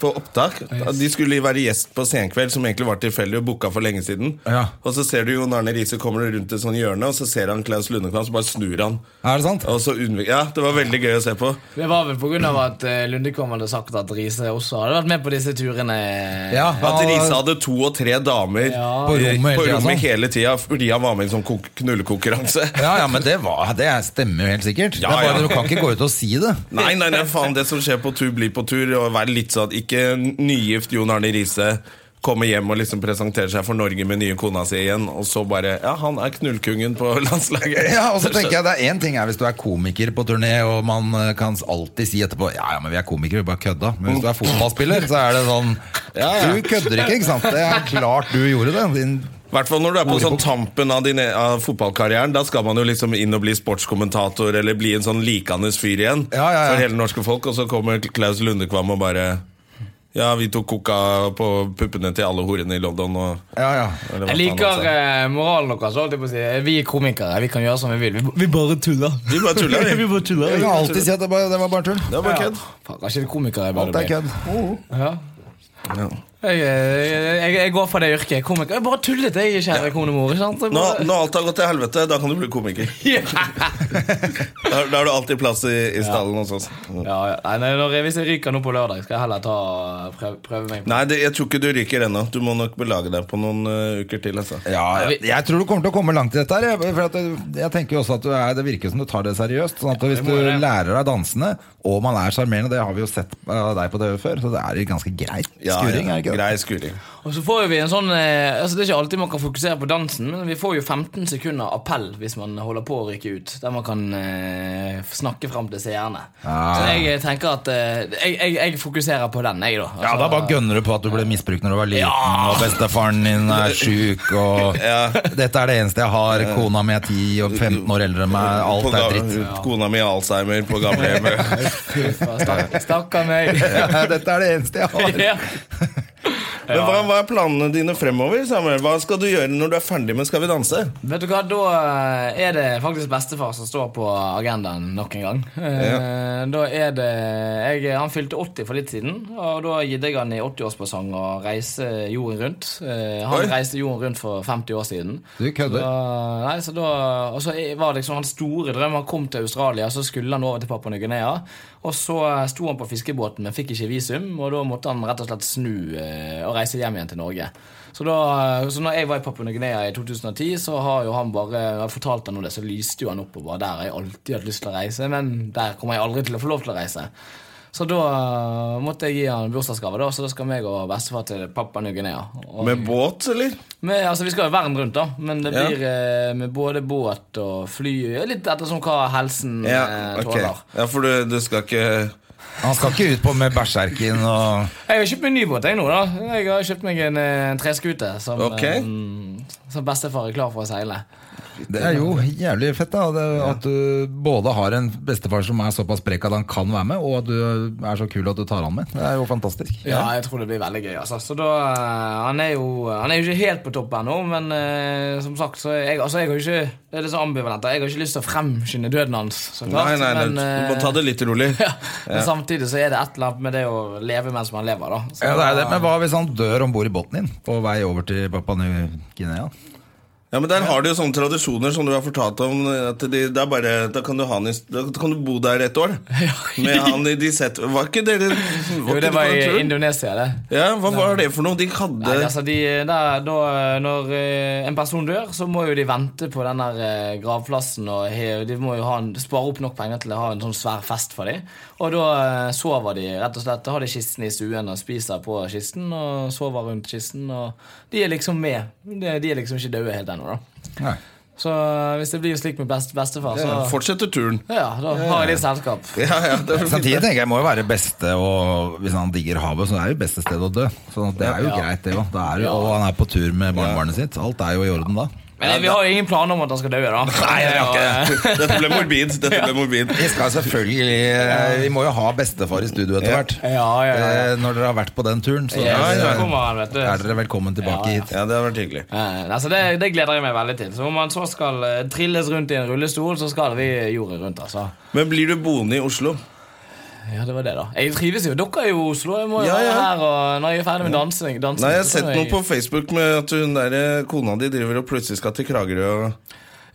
Speaker 2: på opptak. De skulle være gjest på Senkveld, som egentlig var tilfeldig og booka for lenge siden.
Speaker 1: Ja.
Speaker 2: Og så ser du Jon Arne Riise kommer rundt et sånt hjørne, og så ser han Klaus Lundekvam, så bare snur han.
Speaker 1: Er det sant?
Speaker 2: Og så unnvik- ja, det var veldig gøy å se på.
Speaker 3: Det var vel pga. at eh, Lundekvam hadde sagt at Riise også hadde vært med på disse turene.
Speaker 1: Ja,
Speaker 2: At
Speaker 1: han-
Speaker 2: Riise hadde to og tre damer
Speaker 3: Ja.
Speaker 1: På rommet hele
Speaker 2: på
Speaker 1: tiden,
Speaker 2: rommet
Speaker 1: sånn.
Speaker 2: hele tida fordi han var med i en sånn kok- knullekonkurranse.
Speaker 1: Ja, ja, men det, var, det stemmer jo helt sikkert.
Speaker 2: Ja,
Speaker 1: det er bare,
Speaker 2: ja.
Speaker 1: at Du kan ikke gå ut og si det.
Speaker 2: Nei, nei, nei, faen, det som skjer på tur, blir på tur. Og vær litt sånn at Ikke nygift Jon Arne Riise kommer hjem og liksom presenterer seg for Norge med nye kona si igjen, og så bare Ja, han er knullkongen på [LAUGHS] landslaget.
Speaker 1: [LAUGHS] Ja, og så tenker jeg det er en ting er Hvis du er komiker på turné, og man eh, kan alltid si etterpå Ja, ja, men vi er komikere, vi bare kødda. Men hvis du er fotballspiller, så er det [LAUGHS] sånn Du kødder ikke, ikke sant? Det er klart du gjorde det. Din
Speaker 2: I hvert fall når du er på sånn tampen av, din, av fotballkarrieren. Da skal man jo liksom inn og bli sportskommentator eller bli en sånn likandes fyr igjen
Speaker 1: Ja, ja, ja.
Speaker 2: for hele norske folk, og så kommer Klaus Lundekvam og bare ja, vi tok koka på puppene til alle horene i London. Og,
Speaker 1: Ja, ja.
Speaker 2: eller hva faen
Speaker 3: Jeg
Speaker 2: han
Speaker 3: liker
Speaker 2: sa.
Speaker 3: eh, moralen deres. holdt jeg på å si. Vi er komikere, vi kan gjøre som vi vil. Vi, vi bare tuller.
Speaker 2: Vi bare [LAUGHS] tuller, vi.
Speaker 1: Du kan alltid si at det, bare, det var bare tull.
Speaker 2: Det var bare kødd.
Speaker 3: Faen, kanskje det er komikere jeg
Speaker 1: Alt
Speaker 3: burde
Speaker 1: er
Speaker 3: bli.
Speaker 1: kødd.
Speaker 3: Ja. Jeg, jeg, jeg, jeg går for det yrket. Komiker. Jeg bare tullet, jeg, kjære konemor. ikke sant? Jeg
Speaker 2: Nå,
Speaker 3: bare-
Speaker 2: når alt har gått til helvete, da kan du bli komiker. Da, da har du alltid plass i, i stallen hos oss.
Speaker 3: Ja, ja. Nei, nei, når jeg, hvis jeg ryker nå på lørdag, skal jeg heller ta, prøve, prøve meg. på-
Speaker 2: Nei, det, jeg tror ikke du ryker ennå. Du må nok belage deg på noen eh, uker til. Altså.
Speaker 1: Ja, jeg, jeg tror du kommer til å komme langt i dette. her jeg- For at jeg, jeg tenker jo også at du er, Det virker som du tar det seriøst. Sånn at Hvis
Speaker 3: det
Speaker 1: du
Speaker 3: må jeg.
Speaker 1: lærer deg dansene, og man er sjarmerende, det har vi jo sett av deg på TV før, så det er ganske greit
Speaker 2: Ja,
Speaker 1: skuring.
Speaker 2: ja,
Speaker 1: er det ikke det?
Speaker 2: Grei skuring.
Speaker 3: Og så får jo vi en sånn eh, altså Det er ikke alltid man kan fokusere på dansen, men vi får jo 15 sekunder appell hvis man holder på å ryke ut. Der man kan eh, snakke fram til seerne.
Speaker 1: Ah.
Speaker 3: Så jeg eh, tenker at eh, jeg, jeg, jeg fokuserer på den, jeg, da. Altså,
Speaker 1: Ja, Da bare gønner du på at du ble misbrukt når du var liten, og bestefaren din er sjuk, [LAUGHS] og Dette er det eneste jeg har, kona mi er 10 og 15 år eldre enn meg,
Speaker 2: På
Speaker 1: alt
Speaker 2: ga-
Speaker 1: er dritt.
Speaker 2: Kona mi har alzheimer på gamlehjemmet.
Speaker 3: [LAUGHS] Fy faen, stakk- Stakkar meg.
Speaker 1: [LAUGHS] [LAUGHS]
Speaker 3: [LAUGHS]
Speaker 1: Ja, Dette er det eneste jeg har.
Speaker 3: ja.
Speaker 2: Men hva, hva er planene dine fremover? Samuel? Hva skal du gjøre når du er ferdig med Skal vi danse?
Speaker 3: Vet du hva, da eh, er det faktisk bestefar som står på agendaen nok en gang. Eh, Da er det jeg, Han fylte 80 for litt siden, og da gitt jeg han i 80-årspresang å reise jorden rundt. Eh, Han
Speaker 2: Oi.
Speaker 3: reiste jorden rundt for 50 år siden.
Speaker 1: Du kødder.
Speaker 3: Da- Nei, så da, og så var det liksom hans store drøm. Han kom til Australia, så skulle han over til Papua Ny-Guinea. Og så sto han på fiskebåten, men fikk ikke visum, og da måtte han rett og slett snu eh, og å reise hjem igjen til Norge. Så da eh, så når jeg var i Papua Ny-Guinea i 2010, så har jo han bare jeg har fortalt han om det, så lyste jo han opp og bare Der har jeg alltid hatt lyst til å reise, men der kommer jeg aldri til å få lov til å reise. Så da eh, måtte jeg gi han bursdagsgave, da, så da skal meg og bestefar til Papua Ny-Guinea. Og-
Speaker 2: Med båt, eller?
Speaker 3: men, altså, vi skal jo verden rundt, da, men det
Speaker 2: Ja.
Speaker 3: blir eh, med både båt og fly. ja, Litt ettersom hva helsen
Speaker 2: Ja,
Speaker 3: eh,
Speaker 2: ok.
Speaker 3: tåler.
Speaker 2: ja for du, du skal ikke
Speaker 1: Han skal ikke ut på med bæsjerken og
Speaker 3: Jeg har kjøpt meg en ny båt. Jeg nå da Jeg har kjøpt meg en eh, treskute som,
Speaker 2: Ok.
Speaker 3: eh, som bestefar er klar for å seile.
Speaker 1: Det er jo jævlig fett da det, at du både har en bestefar som er såpass sprek at han kan være med, og at du eh, er så kul at du tar han med. Det er jo fantastisk.
Speaker 3: Ja, jeg tror det blir veldig gøy. altså Så da, eh, Han er jo Han er jo ikke helt på topp ennå, men eh, som sagt så er jeg, altså, jeg har jo ikke, Det er litt sånn ambivalent. da. Jeg har ikke lyst til å fremskynde døden hans. Så klart,
Speaker 2: Nei, nei, nei,
Speaker 3: men,
Speaker 2: du må
Speaker 3: eh,
Speaker 2: ta det litt rolig.
Speaker 3: [LAUGHS]
Speaker 1: [LAUGHS]
Speaker 3: ja, men samtidig så er det et eller annet med det å leve mens man lever, da. Så
Speaker 1: Ja, det er det. Men hva hvis han dør om bord i båten din på vei over til Papua Ny-Guinea?
Speaker 2: Ja, men Der har de jo sånne tradisjoner som du har fortalt om. At de, det er bare, da, kan du ha en, da kan du bo der et
Speaker 3: [LAUGHS]
Speaker 2: år. Med han i de sett Var ikke dere var
Speaker 3: Jo,
Speaker 2: ikke
Speaker 3: det
Speaker 2: dere på
Speaker 3: var
Speaker 2: den
Speaker 3: i
Speaker 2: turen?
Speaker 3: Indonesia, det.
Speaker 2: Ja, Hva var det for noe? De hadde
Speaker 3: Nei, altså de, da- da, når eh, en person dør, så må jo de vente på den der eh, gravplassen. Og he- de må jo ha en, spare opp nok penger til å ha en sånn svær fest for dem. Og da eh, sover de rett og slett. Da har de kisten i stuen og spiser på kisten og sover rundt kisten. Og de er liksom med. De, de er liksom ikke døde helt ennå, da.
Speaker 1: Nei.
Speaker 3: Så eh, hvis det blir slik med best, bestefar, så
Speaker 2: Fortsetter
Speaker 3: [LAUGHS]
Speaker 2: turen.
Speaker 3: ja, da har jeg litt selskap.
Speaker 2: Ja, ja, det var fint.
Speaker 1: Samtidig tenker jeg må jo være beste og Hvis han digger havet, så er jo beste stedet å dø. Så det er jo greit, det òg. Det er jo- Og han er på tur med barnebarnet sitt. Alt er jo i orden da.
Speaker 3: Men eh, vi har jo ingen planer om at han skal dø, da. Nei,
Speaker 1: jeg har ikke
Speaker 2: [LAUGHS] Dette ble
Speaker 3: [LAUGHS]
Speaker 2: morbid. Dette ble morbid.
Speaker 1: Vi skal selvfølgelig eh, Vi må jo ha bestefar i studio etter hvert.
Speaker 3: Ja, ja, ja.
Speaker 1: Eh, Når dere har vært på den turen, så
Speaker 3: Ja,
Speaker 2: ja.
Speaker 3: så kommer han, vet du.
Speaker 1: er dere velkommen tilbake hit.
Speaker 2: Ja, det har vært hyggelig.
Speaker 3: Eh, altså det, det gleder jeg meg veldig til. Så Om man så skal eh, trilles rundt i en rullestol, så skal vi jorden rundt. altså
Speaker 2: Men blir du boende i Oslo?
Speaker 3: Ja, det var det da Jeg trives jo. Dere er jo i Oslo. Jeg må jo
Speaker 2: Ja,
Speaker 3: være
Speaker 2: ja.
Speaker 3: her og når jeg er ferdig med dansing. dansing
Speaker 2: Nei, Jeg har
Speaker 3: så
Speaker 2: sett
Speaker 3: kan
Speaker 2: noe på Facebook med at hun der, eh, kona di driver og plutselig skal til Kragerø. Og...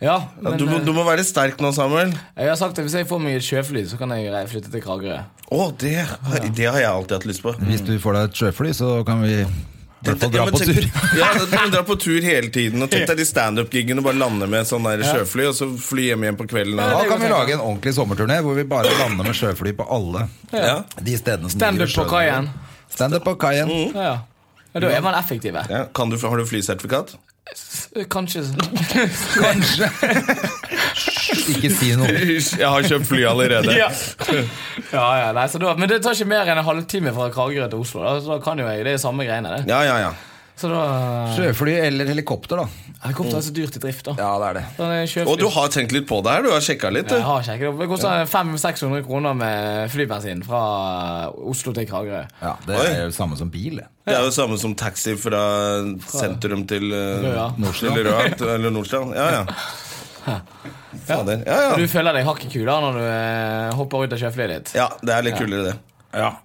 Speaker 3: Ja,
Speaker 2: Ja,
Speaker 3: men
Speaker 2: du, må-
Speaker 3: eh,
Speaker 2: du må være sterk nå, Samuel.
Speaker 3: jeg har sagt at hvis jeg får meg et sjøfly, så kan jeg rei- flytte til Kragerø.
Speaker 2: Å, det, har- det har jeg alltid hatt lyst på.
Speaker 1: Hvis du får deg et sjøfly, så kan vi i hvert fall
Speaker 2: Ja,
Speaker 1: dra
Speaker 2: men
Speaker 1: på
Speaker 2: tenk- [LAUGHS]
Speaker 1: tur.
Speaker 2: ja, da kan du dra på tur hele tiden. Og Tenk deg de standup-giggene og bare lande med sånn der sjøfly, og så fly hjem igjen på kvelden.
Speaker 1: Da
Speaker 2: Og,
Speaker 1: kan vi lage en ordentlig sommerturné hvor vi bare lander med sjøfly på alle
Speaker 2: ja.
Speaker 1: de stedene som
Speaker 3: Stand
Speaker 1: ligger
Speaker 3: up på
Speaker 1: sjøen.
Speaker 3: kaien.
Speaker 1: Stand up på kaien.
Speaker 3: Ja, ja. ja, Da er man effektive.
Speaker 2: Ja. Kan du, har du flysertifikat?
Speaker 3: Kanskje
Speaker 1: Kanskje. Ikke si
Speaker 2: [LAUGHS]
Speaker 1: noe.
Speaker 2: [LAUGHS] Jeg har kjøpt fly allerede.
Speaker 3: Ja, ja, ja nei, så da, Men det tar ikke mer enn en halvtime fra Kragerø til Oslo. Da, så da kan jo jeg, Det er samme greiene, det.
Speaker 2: Ja, ja, ja.
Speaker 3: Så da
Speaker 1: Sjøfly eller helikopter, da.
Speaker 3: Helikopter er så dyrt i drift, da.
Speaker 1: Ja, det er det.
Speaker 3: Så det er sjøfly-
Speaker 2: Og du har tenkt litt på det her? Du har sjekka litt?
Speaker 3: Jeg
Speaker 2: Du.
Speaker 3: har sjekket opp. Det koster 500-600 kroner med flybensin fra Oslo til Kragerø.
Speaker 1: Ja, Det
Speaker 2: Oi.
Speaker 1: er jo samme som bil. det.
Speaker 2: Det er jo samme som taxi fra sentrum til eh,
Speaker 3: Røa.
Speaker 2: Nordstrand. Eller, [LAUGHS] Røa, eller Nordstrand. Ja, ja. Fader. Ja,
Speaker 3: Du
Speaker 2: ja.
Speaker 3: føler deg hakket kulere når du eh, hopper ut av sjøflyet ditt.
Speaker 2: ja, det er litt kulere, det.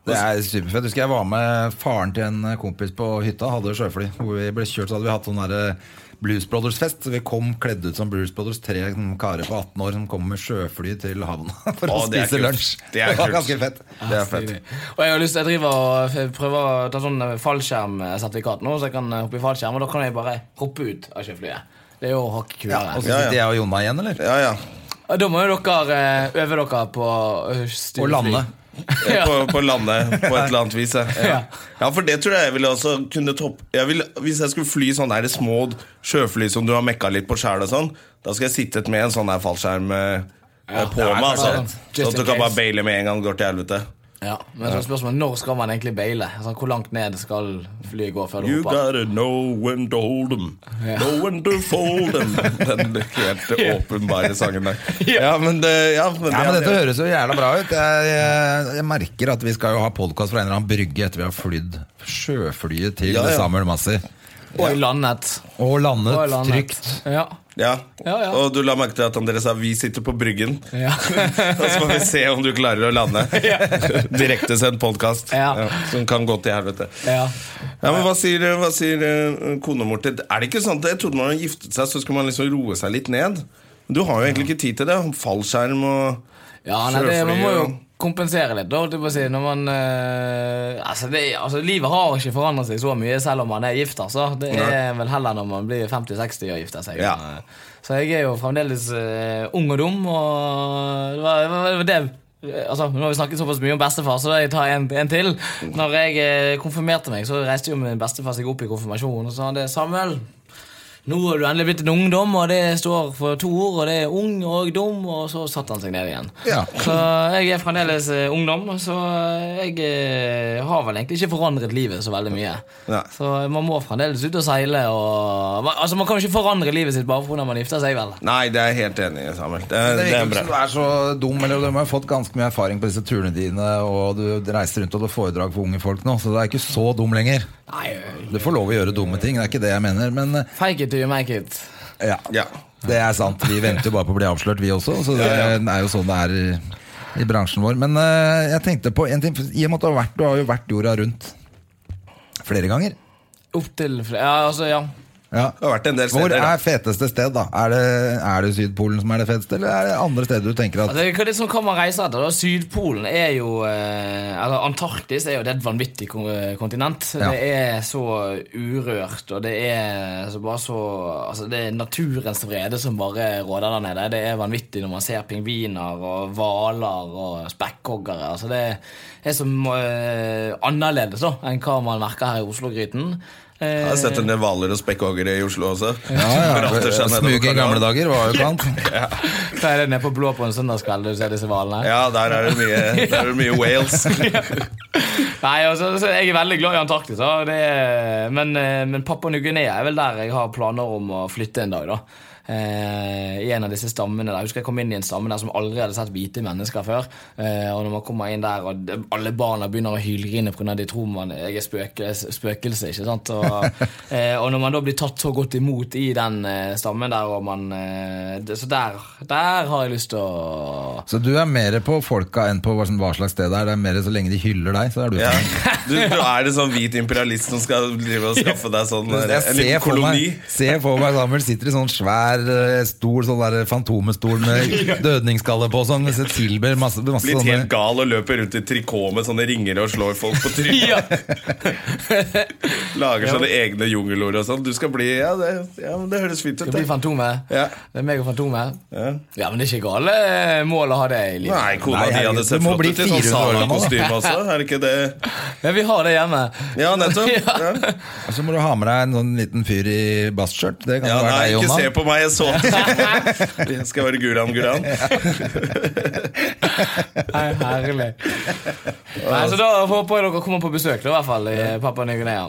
Speaker 1: Det er superfett. Husker jeg var med faren til en kompis på hytta, hadde sjøfly. Hvor vi ble kjørt, så hadde vi hatt sånn derre Blues Brothers-fest. Så vi kom kledd ut som Blues Brothers, tre sånne karer på 18 år som kom med sjøfly til havna [LAUGHS] for å
Speaker 2: Å, det er
Speaker 1: spise
Speaker 2: kult.
Speaker 1: lunsj.
Speaker 2: Det er
Speaker 1: var
Speaker 2: kult.
Speaker 1: ganske fett.
Speaker 2: Det
Speaker 3: Ah,
Speaker 2: er fett.
Speaker 3: Og jeg har lyst jeg driver og f- prøver å ta sånn eh, fallskjermsertifikat nå, så jeg kan eh, hoppe i fallskjerm, og da kan jeg bare hoppe ut av sjøflyet. Det er jo hakket
Speaker 1: Ja, og
Speaker 3: kulere.
Speaker 1: så
Speaker 2: Ja, ja.
Speaker 1: sitter jeg og Jonna igjen, eller?
Speaker 2: Ja, ja.
Speaker 3: Og Da må jo dere eh, øve dere på eh, styre
Speaker 1: Og lande.
Speaker 3: fly. [LAUGHS] Ja.
Speaker 2: på, på landet på et eller annet vis. Ja.
Speaker 3: Ja.
Speaker 2: ja, for det tror jeg jeg ville også kunne topp jeg ville, Hvis jeg skulle fly sånn der små sjøfly som du har mekka litt på sjæl og sånn, da skal jeg sittet med en sånn der fallskjerm eh, på
Speaker 3: det er
Speaker 2: meg, altså.
Speaker 3: klart.
Speaker 2: Sånn
Speaker 3: Just
Speaker 2: at du
Speaker 3: in
Speaker 2: kan bare
Speaker 3: case.
Speaker 2: baile med en gang det går til helvete.
Speaker 3: Ja, men så er spørsmålet når skal man egentlig baile? Altså, hvor langt ned skal flyet gå før du
Speaker 2: You
Speaker 3: hopper?
Speaker 2: gotta know when to hold them, know when to fold
Speaker 3: [LAUGHS]
Speaker 2: them. Den helt åpenbare sangen der. Ja, men det, ja, men
Speaker 1: Ja, men
Speaker 2: det-
Speaker 1: Dette høres jo jævla bra ut. Jeg, jeg, jeg merker at vi skal jo ha podkast fra en eller annen brygge etter vi har flydd sjøflyet til
Speaker 2: Ja, ja.
Speaker 1: Samuel Massi.
Speaker 3: Og i landet.
Speaker 1: Og landet,
Speaker 3: Og i landet.
Speaker 1: trygt.
Speaker 3: Ja.
Speaker 2: Ja.
Speaker 3: Ja, ja.
Speaker 2: Og du la merke til at André sa 'vi sitter på bryggen'.
Speaker 3: Ja. [LAUGHS]
Speaker 2: [LAUGHS] og så får vi se om du klarer å lande. Direktesendt podkast
Speaker 3: Ja.
Speaker 2: som kan gå til helvete.
Speaker 3: Ja.
Speaker 2: Ja, men Hva sier, hva sier eh, kona vår til Er det ikke sånn at jeg trodde man hadde giftet seg, så skulle man liksom roe seg litt ned? Men Du har jo egentlig ikke tid til det. Fallskjerm og
Speaker 3: Ja, nei, det, man må jo
Speaker 2: og-
Speaker 3: kompensere litt. Da, holdt jeg på å si, når man, eh, altså, det, altså, livet har ikke forandret seg så mye selv om man er gift. Altså. Det er vel heller når man blir 50-60 og gifter seg.
Speaker 2: Ja.
Speaker 3: Så jeg er jo fremdeles eh, ung og dum, og det var, det var det Altså, nå har vi snakket såpass mye om bestefar, så da jeg tar en, en til. Når jeg eh, konfirmerte meg, så reiste jo min bestefar seg opp i konfirmasjonen og sa det, Samuel, nå er du endelig blitt en ungdom, og det står for to ord, og det er ung og dum, og så satte han seg ned igjen.
Speaker 1: Ja.
Speaker 3: Så jeg er fremdeles eh, ungdom, så jeg eh, har vel egentlig ikke forandret livet så veldig mye.
Speaker 2: Nei.
Speaker 3: Så man må fremdeles ut og seile, og man, altså, man kan jo ikke forandre livet sitt bare fordi man gifter seg, vel?
Speaker 2: Nei, det er jeg helt enig i, Samuel. Det,
Speaker 1: Det
Speaker 2: det er
Speaker 1: virker ikke som
Speaker 2: bra.
Speaker 1: du er så dum, eller du har fått ganske mye erfaring på disse turene dine, og du reiser rundt og holder foredrag for unge folk nå, så du er ikke så dum lenger.
Speaker 3: Nei,
Speaker 1: Du får lov å gjøre dumme ting, det er ikke det jeg mener, men eh,
Speaker 3: fake it till you make it.
Speaker 1: ja.
Speaker 2: Ja.
Speaker 1: Det er sant. Vi venter jo bare på å bli avslørt, vi også, så det
Speaker 2: Ja, ja.
Speaker 1: er jo sånn det er i, i bransjen vår. Men eh, jeg tenkte på en ting, for i og med at du har vært, du har jo vært jorda rundt flere ganger.
Speaker 3: Opp til fl- Ja, altså, ja.
Speaker 1: Ja.
Speaker 2: Det har vært en del
Speaker 1: Hvor
Speaker 2: steder.
Speaker 1: er
Speaker 2: da.
Speaker 1: feteste sted, da? Er det, er det Sydpolen som er det feteste, eller er det andre steder du tenker at
Speaker 3: Altså, hva er det som kan man reise etter? da? Sydpolen er jo eh, Eller Antarktis er jo det er et vanvittig kon- kontinent.
Speaker 1: Ja.
Speaker 3: Det er så urørt, og det er så bare så Altså, det er naturens vrede som bare råder der nede. Det er vanvittig når man ser pingviner og hvaler og spekkhoggere. Altså, det er så eh, annerledes da enn hva man merker her i Oslo-gryten. Eh,
Speaker 2: Jeg har sett en del hvaler og spekkhoggere i Oslo også. [LAUGHS]
Speaker 1: ja,
Speaker 2: Hvor alt
Speaker 1: ja,
Speaker 2: det skjer nedover
Speaker 1: Smug i
Speaker 2: kanalen.
Speaker 1: gamle dager var
Speaker 2: [LAUGHS]
Speaker 1: jo klant.
Speaker 3: Hva er det nede på Blå på en søndagskveld du ser disse hvalene?
Speaker 2: Ja, der er det mye, der er det
Speaker 1: [LAUGHS]
Speaker 2: mye Wales.
Speaker 3: [LAUGHS] Nei, altså, så Jeg er veldig glad i Antarktis, da. Det er, men, eh, men Papua Ny-Guinea er vel der jeg har planer om å flytte en dag. da. Eh, I en av disse stammene der. Jeg husker jeg kom inn i en stamme der som aldri hadde sett hvite mennesker før. Eh, og når man kommer inn der, og de- alle barna begynner å hylgrine pga. de tror man jeg er spøkelse, spøkelse ikke sant? Og, eh, og når man da blir tatt så godt imot i den eh, stammen der, og man eh, det, Så der, der har jeg lyst til å
Speaker 1: Så du er mer på folka enn på hva som- hva slags sted det er. Det er mer så lenge de hyller deg, så er du
Speaker 2: Ja.
Speaker 1: fornøyd.
Speaker 2: Du, du er en sånn hvit imperialist som skal drive og skaffe deg sånn
Speaker 1: Jeg
Speaker 2: en
Speaker 1: ser
Speaker 2: liten
Speaker 1: for,
Speaker 2: koloni.
Speaker 1: meg, ser for meg Samuel sitter i sånn svær eh, stol, sånn der fantomestol
Speaker 2: [LAUGHS]
Speaker 1: med dødningskalle på, sånn, så tilber masse, masse
Speaker 2: Blitt helt
Speaker 1: sånne
Speaker 2: gal og løper rundt i trikot med sånne ringer og slår folk på trynet.
Speaker 3: [LAUGHS] Ja.
Speaker 2: Lager sånne egne jungelord og sånn. Du skal bli Ja, det, ja, men det høres fint ut.
Speaker 3: Det blir
Speaker 2: det.
Speaker 3: Fantomet.
Speaker 2: Ja.
Speaker 3: Det er meg og Fantomet.
Speaker 2: Ja.
Speaker 3: Ja, men det er ikke gale eh, mål å ha det i livet.
Speaker 2: Nei, kona
Speaker 1: Nei,
Speaker 2: di
Speaker 1: herregud,
Speaker 2: hadde sett
Speaker 1: du må
Speaker 2: flott
Speaker 1: bli
Speaker 2: ut i sånn
Speaker 1: 400 år gammel, da.
Speaker 2: Sana-kostyme også. Er det ikke det?
Speaker 3: Men vi har det hjemme.
Speaker 2: Ja,
Speaker 3: [LAUGHS]
Speaker 2: nettopp. Ja.
Speaker 1: Og Så må du ha med deg en sånn liten fyr i bassskjørt. Det kan
Speaker 2: Ja,
Speaker 1: jo være
Speaker 2: nei,
Speaker 1: deg,
Speaker 2: ikke se
Speaker 1: Jonna.
Speaker 2: på meg, jeg så
Speaker 1: [LAUGHS]
Speaker 2: det. [LAUGHS] Jeg skal være Guran Guran.
Speaker 3: Nei, herlig. Nei, så da håper jeg dere kommer på besøk, da, i hvert fall, i eh, Papua Ny-Guinea.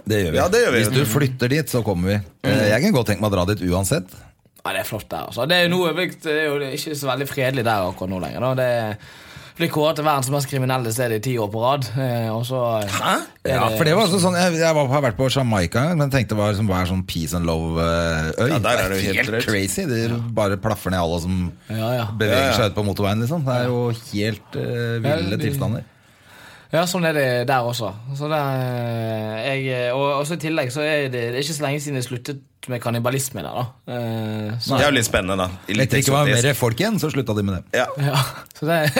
Speaker 1: Det gjør vi.
Speaker 2: Ja, det gjør vi. Mm.
Speaker 1: Hvis du flytter dit, så kommer vi. Eh, Jeg kan godt tenke meg å dra dit uansett.
Speaker 3: Ja, det er flott der, altså. Det er jo noe blitt- det er jo ikke så veldig fredelig der akkurat nå lenger. da. Det blir kåret til verdens mest kriminelle sted i ti år på rad. eh, Og så Hæ?
Speaker 1: Ja,
Speaker 2: Eh,
Speaker 1: for det var også sånn Jeg, jeg var, har vært på Jamaica, men tenkte det var som var sånn peace and eh, love-øy.
Speaker 2: Ja, der er det jo helt drøyt.
Speaker 1: crazy. De bare plaffer ned alle som
Speaker 3: Ja, ja.
Speaker 1: beveger
Speaker 2: Ja, ja.
Speaker 1: seg ut på motorveien, liksom. Det er jo helt eh, ville
Speaker 3: Ja, de-
Speaker 1: tilstander.
Speaker 3: Ja, sånn er det der også. Så det, er- jeg, eh, og og så i tillegg så er det, det er ikke så lenge siden jeg sluttet med kannibalisme der, da. Eh, Så,
Speaker 2: Det er jo litt spennende, da. Litt
Speaker 1: Etter ikke var
Speaker 2: eksotisk.
Speaker 1: mer folk igjen, så slutta de med det.
Speaker 2: Ja.
Speaker 3: ja, [LAUGHS] så, det,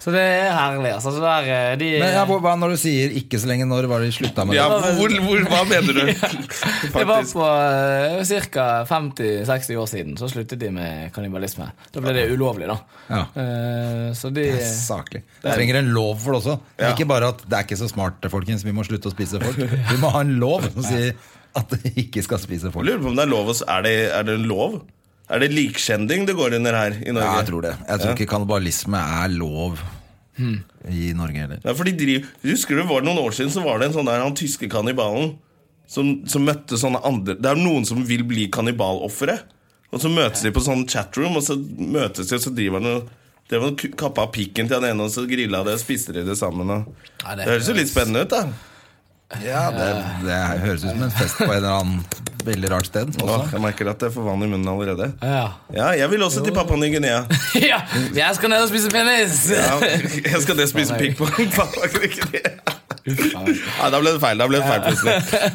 Speaker 3: så det er herlig, altså. Så der, eh, de,
Speaker 1: Men ja, hvor- hva når du sier 'ikke så lenge', når var det de slutta med
Speaker 2: Ja,
Speaker 1: det?
Speaker 2: hvor, hvor, hva mener
Speaker 3: [LAUGHS]
Speaker 2: du?
Speaker 3: Det var
Speaker 2: Faktisk.
Speaker 3: på ca. 50-60 år siden. Så sluttet de med kannibalisme. Da ble det ulovlig, da.
Speaker 1: Ja.
Speaker 3: Eh, Så de
Speaker 1: Saklig. Vi trenger en lov for det også. Ikke bare at 'det er ikke så smart, folkens, vi må slutte å spise folk'. Vi må ha en lov
Speaker 2: [LAUGHS]
Speaker 1: som sier at de ikke skal spise folk.
Speaker 2: Jeg lurer på om det er lov å s- Er det, er det lov? Er det likskjending det går under her i Norge?
Speaker 1: Ja, jeg tror det. Jeg tror ikke kannibalisme er lov
Speaker 2: Hmm.
Speaker 1: i Norge heller.
Speaker 2: Nei, for de driver, husker du, var det noen år siden så var det en sånn der, han tyske kannibalen som, som møtte sånne andre Det er noen som vil bli kannibaloffere. Og så møtes de på sånn chatroom, og så møtes de, og så driver han og det var ku- Kappa av pikken til han ene, og så grilla det, og spiste de det sammen. Og.
Speaker 3: Ja,
Speaker 2: Det
Speaker 3: det-
Speaker 2: høres jo litt spennende ut, da.
Speaker 1: Ja, det, det høres ut som en fest på en eller annen veldig rart sted.
Speaker 2: Åh,
Speaker 1: Også.
Speaker 2: jeg merker at jeg får vann i munnen allerede.
Speaker 3: ja. [LAUGHS]
Speaker 2: Ja, jeg vil også til Papua Ny-Guinea.
Speaker 3: ja! Jeg skal ned og spise penis!
Speaker 2: Ja, jeg skal det spise pikk på [LAUGHS] Papua Ny-Guinea. Nei, da ble det feil. Da ble det feil plutselig.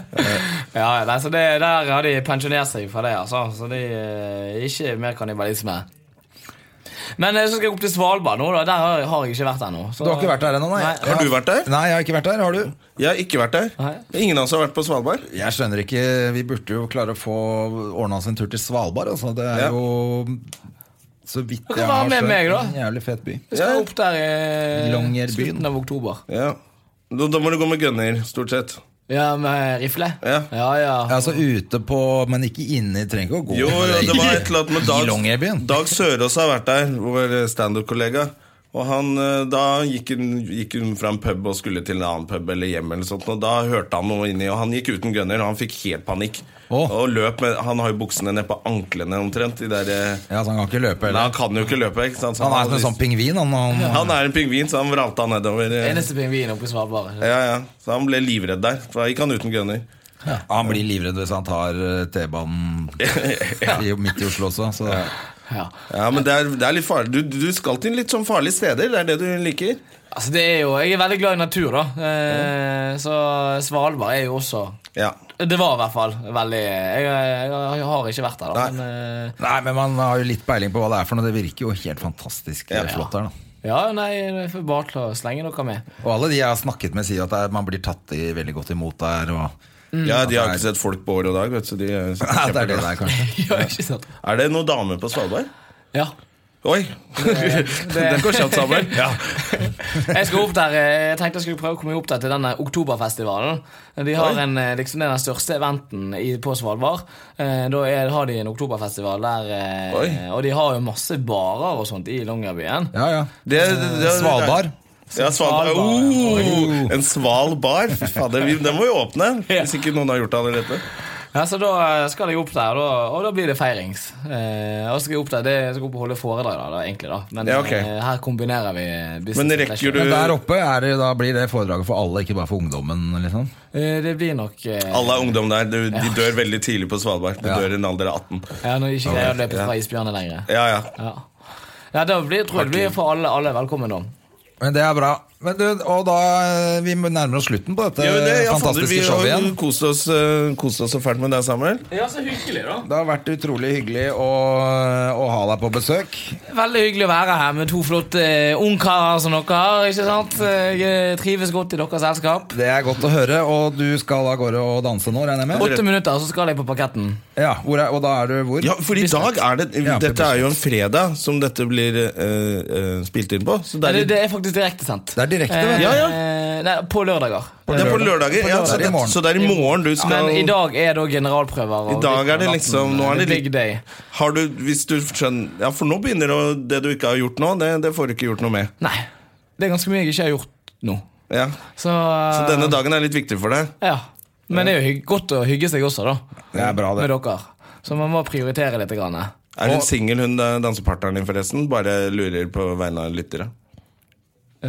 Speaker 3: Ja, nei, så det, Der har de pensjonert seg fra det, altså. Så de eh, Ikke mer kannibalisme. Men eh, så skal jeg opp til Svalbard nå, da. Der har jeg, har jeg ikke vært ennå.
Speaker 1: Du har ikke vært der ennå, nei?
Speaker 3: Nei.
Speaker 2: Har du vært der?
Speaker 1: Nei, jeg har ikke vært der. Har du?
Speaker 2: Jeg har ikke vært der.
Speaker 3: Nei.
Speaker 2: Ingen av oss har vært på Svalbard.
Speaker 1: Jeg skjønner ikke Vi burde jo klare å få ordna oss en tur til Svalbard. Altså. Det er
Speaker 2: Ja.
Speaker 1: jo så vidt
Speaker 3: kan
Speaker 1: jeg
Speaker 3: være
Speaker 1: har
Speaker 3: med
Speaker 1: skjønt
Speaker 3: meg, da.
Speaker 1: en jævlig fet by.
Speaker 3: Jeg skal opp der i
Speaker 1: Longyearbyen.
Speaker 3: slutten av oktober.
Speaker 2: Ja. Da, da må du gå med gunner, stort sett.
Speaker 3: Ja, med rifle?
Speaker 2: Ja.
Speaker 3: ja. ja.
Speaker 1: Altså ute på Men ikke inni. Trenger ikke å gå
Speaker 2: Jo, jo, det var et eller annet med
Speaker 1: I Longyearbyen.
Speaker 2: Dag, Dag Sørås har vært der, vår standup-kollega. Og han, eh, Da gikk hun, gikk hun fra en pub og skulle til en annen pub eller hjem. eller sånt, og Da hørte han noe inni, og han gikk uten gunner, og han fikk helt panikk.
Speaker 1: Åh.
Speaker 2: Og løp med, Han har jo buksene ned på anklene omtrent. De der, eh,
Speaker 1: Ja, så han kan ikke løpe
Speaker 2: men han
Speaker 1: heller.
Speaker 2: kan jo ikke løpe. ikke sant? Så
Speaker 1: Han er
Speaker 2: hadde
Speaker 1: som en sånn
Speaker 2: lyst-
Speaker 1: pingvin. Han, han,
Speaker 2: han er en pingvin, så han vralta nedover. eh.
Speaker 3: Eneste pingvin oppe i Svalbard.
Speaker 2: Ja, ja, Så han ble livredd der. for Da gikk han uten gunner.
Speaker 1: han blir livredd hvis han tar eh,
Speaker 2: [LAUGHS]
Speaker 1: T-banen i- midt i Oslo også. Så.
Speaker 3: Ja.
Speaker 2: Ja, men det er, det er litt farlig. Du, du skal til litt sånn farlige steder. Det er det du liker.
Speaker 3: Altså, det er jo, jeg er veldig glad i natur, da. Eh, så Svalbard er jo også
Speaker 2: Ja.
Speaker 3: Det var i hvert fall veldig Jeg, jeg, jeg har ikke vært der, da. Men, eh,
Speaker 1: Nei, men man har jo litt peiling på hva det er for noe. Det virker jo helt fantastisk eh,
Speaker 2: Ja.
Speaker 1: flott her, da.
Speaker 3: ja, nei, jeg får bare til å slenge noe med. [LAUGHS]
Speaker 1: Og alle de jeg har snakket med, sier at det er, man blir tatt i, veldig godt imot der. Og,
Speaker 2: ja, De har ikke sett folk på år og dag. Vet du, så de er
Speaker 1: [LAUGHS] Mm. ja, det er det
Speaker 2: kjempeglade.
Speaker 1: der, kanskje.
Speaker 3: ja, ikke sant?
Speaker 2: Er det noen damer på Svalbard?
Speaker 3: Ja.
Speaker 2: Oi! [LAUGHS] Det, går kjapt
Speaker 1: [LAUGHS]
Speaker 2: sammen. Ja.
Speaker 3: Jeg skal opp der, eh, jeg tenkte jeg skulle prøve å komme opp der til denne oktoberfestivalen. De har
Speaker 2: Oi.
Speaker 3: en, eh, liksom, det er den største eventen i, på Svalbard. Eh, Da er, har de en oktoberfestival der, eh,
Speaker 2: Oi.
Speaker 3: og de har jo masse barer og sånt i Longyearbyen.
Speaker 1: Ja, ja.
Speaker 2: Det, det, det,
Speaker 1: Svalbard.
Speaker 2: Ja, Svalbard. Oh, en sval bar. Fy Fader, vi- den må jo åpne.
Speaker 1: [LAUGHS]
Speaker 2: Hvis ikke noen har gjort det allerede.
Speaker 3: Ja, så da eh, skal jeg opp der, og da, og da blir det feirings. Eh, Og så skal jeg opp der, det, jeg skal opp og holde foredrag der, da, egentlig. da. Men
Speaker 2: Ja, ok.
Speaker 3: eh, her kombinerer vi business.
Speaker 2: Men
Speaker 3: and
Speaker 2: rekker
Speaker 3: pleasure.
Speaker 2: du-
Speaker 1: Men der oppe er det, da blir det foredraget for alle, ikke bare for ungdommen. Liksom.
Speaker 3: Eh, Det blir nok eh,
Speaker 2: Alle er ungdom der. Du, de dør veldig tidlig på Svalbard. De dør i en alder av 18.
Speaker 3: Ja, Når de ikke greier å løpe fra isbjørner lenger.
Speaker 2: Ja, ja.
Speaker 3: Ja, ja da blir, tror jeg det blir for alle, alle velkommen, da.
Speaker 1: Men det er bra. Men du, og da eh, Vi nærmer oss slutten på dette
Speaker 2: Gjør vi det? Ja, fader, vi
Speaker 1: fantastiske showet
Speaker 2: har
Speaker 1: igjen.
Speaker 2: jo kost oss, eh, kost oss så fælt med deg, Samuel.
Speaker 3: Ja, så hyggelig da
Speaker 1: Det har vært utrolig hyggelig å, eh, å ha deg på besøk.
Speaker 3: Veldig hyggelig å være her med to flotte eh, ungkarer som dere har. ikke sant? Jeg eh, trives godt i deres selskap.
Speaker 1: Det er godt å høre. Og du skal av gårde og danse nå, regner jeg med?
Speaker 3: Åtte minutter, så skal jeg på parketten.
Speaker 1: Ja, hvor er, Og da er du hvor?
Speaker 2: Ja, for i dag er det
Speaker 1: Ja, på
Speaker 2: Dette er jo en fredag som dette blir eh, eh, spilt inn på. Så det er,
Speaker 3: Det,
Speaker 2: litt-
Speaker 3: det er faktisk direktesendt.
Speaker 1: Det er direkte, vet du.
Speaker 2: Ja, ja.
Speaker 3: Eh, Nei, på lørdager.
Speaker 2: det er på lørdager. Ja, så,
Speaker 1: lørdag i
Speaker 2: det,
Speaker 1: morgen.
Speaker 2: så det er i morgen du skal
Speaker 3: Men i dag er da generalprøver.
Speaker 2: I dag er det liksom- nå er det litt-
Speaker 3: Big day.
Speaker 2: Har du, hvis du skjønner Ja, for nå begynner det å- det du ikke har gjort nå, det, det får du ikke gjort noe med.
Speaker 3: Nei. Det er ganske mye jeg ikke har gjort nå.
Speaker 2: Ja.
Speaker 3: Så, eh,
Speaker 2: Så denne
Speaker 1: Eh.
Speaker 2: dagen er litt viktig for deg.
Speaker 3: Ja. Men det er jo hygg- godt å hygge seg også, da.
Speaker 1: Det er bra, det.
Speaker 3: Med dere. Så man må prioritere litt. Grann.
Speaker 2: Er hun singel, hun eh, dansepartneren din, forresten? Bare lurer på vegne av lyttere.
Speaker 3: Eh,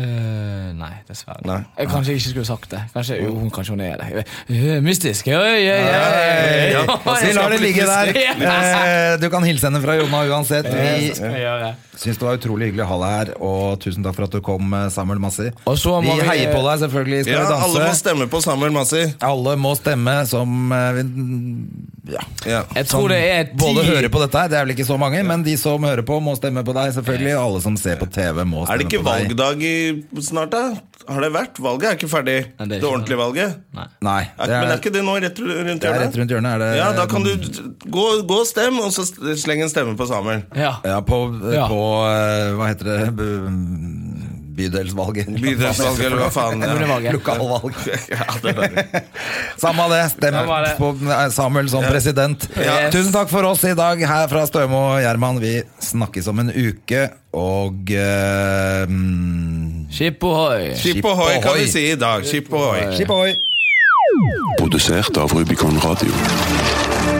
Speaker 3: nei, dessverre.
Speaker 2: Nei.
Speaker 3: Jeg kanskje jeg ikke skulle sagt det. Kanskje, jo, hun, kanskje hun er det. Jeg vet- Eh, mystisk. Oi, oi, oi, oi.
Speaker 2: Ja,
Speaker 1: Vi lar Eh, det ligge der.
Speaker 3: [LAUGHS] Ja,
Speaker 1: Eh, Du kan hilse henne fra Jonna uansett.
Speaker 3: det
Speaker 1: Vi
Speaker 3: skal jeg gjøre.
Speaker 1: syns det var utrolig hyggelig å ha deg her, og tusen takk for at du kom, eh, Samuel Massi.
Speaker 3: Og så
Speaker 1: Vi
Speaker 3: må vi-
Speaker 1: heier på deg, selvfølgelig. Skal
Speaker 2: Ja,
Speaker 1: vi danse?
Speaker 2: alle må stemme på Samuel Massi.
Speaker 1: Alle må stemme som eh, vi- ja,
Speaker 2: Ja.
Speaker 3: Jeg tror det er ti
Speaker 1: både hører på dette her, det er vel ikke så mange, men de som hører på, må stemme på deg, selvfølgelig. Alle som ser på TV, må
Speaker 2: Er
Speaker 1: stemme
Speaker 2: det ikke
Speaker 1: på deg.
Speaker 2: valgdag i, snart, da? Har det vært? Valget er ikke ferdig.
Speaker 3: Nei,
Speaker 2: det,
Speaker 3: det er ikke
Speaker 2: ordentlige valget.
Speaker 1: Nei,
Speaker 2: Er,
Speaker 1: det
Speaker 2: men er
Speaker 1: er,
Speaker 2: ikke det nå rett, ru- rundt
Speaker 1: det er
Speaker 2: hjørnet?
Speaker 1: rett rundt hjørnet. Er det,
Speaker 2: Ja, da kan du gå, gå og stem, og så st- sleng en stemme på Samuel.
Speaker 3: Ja.
Speaker 1: Ja, på,
Speaker 3: Ja.
Speaker 1: på eh, hva heter det Bu- Bydelsvalget.
Speaker 2: [LAUGHS] Bydelsvalget, eller hva faen. Ja.
Speaker 3: Kommunevalget.
Speaker 1: [LAUGHS] Lokalvalg.
Speaker 2: [LAUGHS] Ja, det er det.
Speaker 1: Samme av det. Stem
Speaker 3: Samme av det.
Speaker 1: på eh, Samuel som president.
Speaker 3: Yes.
Speaker 1: Tusen takk for oss i dag her fra Støme og Gjerman. Vi snakkes om en uke, og eh, mm,
Speaker 3: Skip ohoi.
Speaker 2: Skip ohoi, kan
Speaker 1: ohoi.
Speaker 2: vi si i dag. Skip ohoi.
Speaker 1: Skip ohoi!
Speaker 4: Produsert av Rubicon Radio.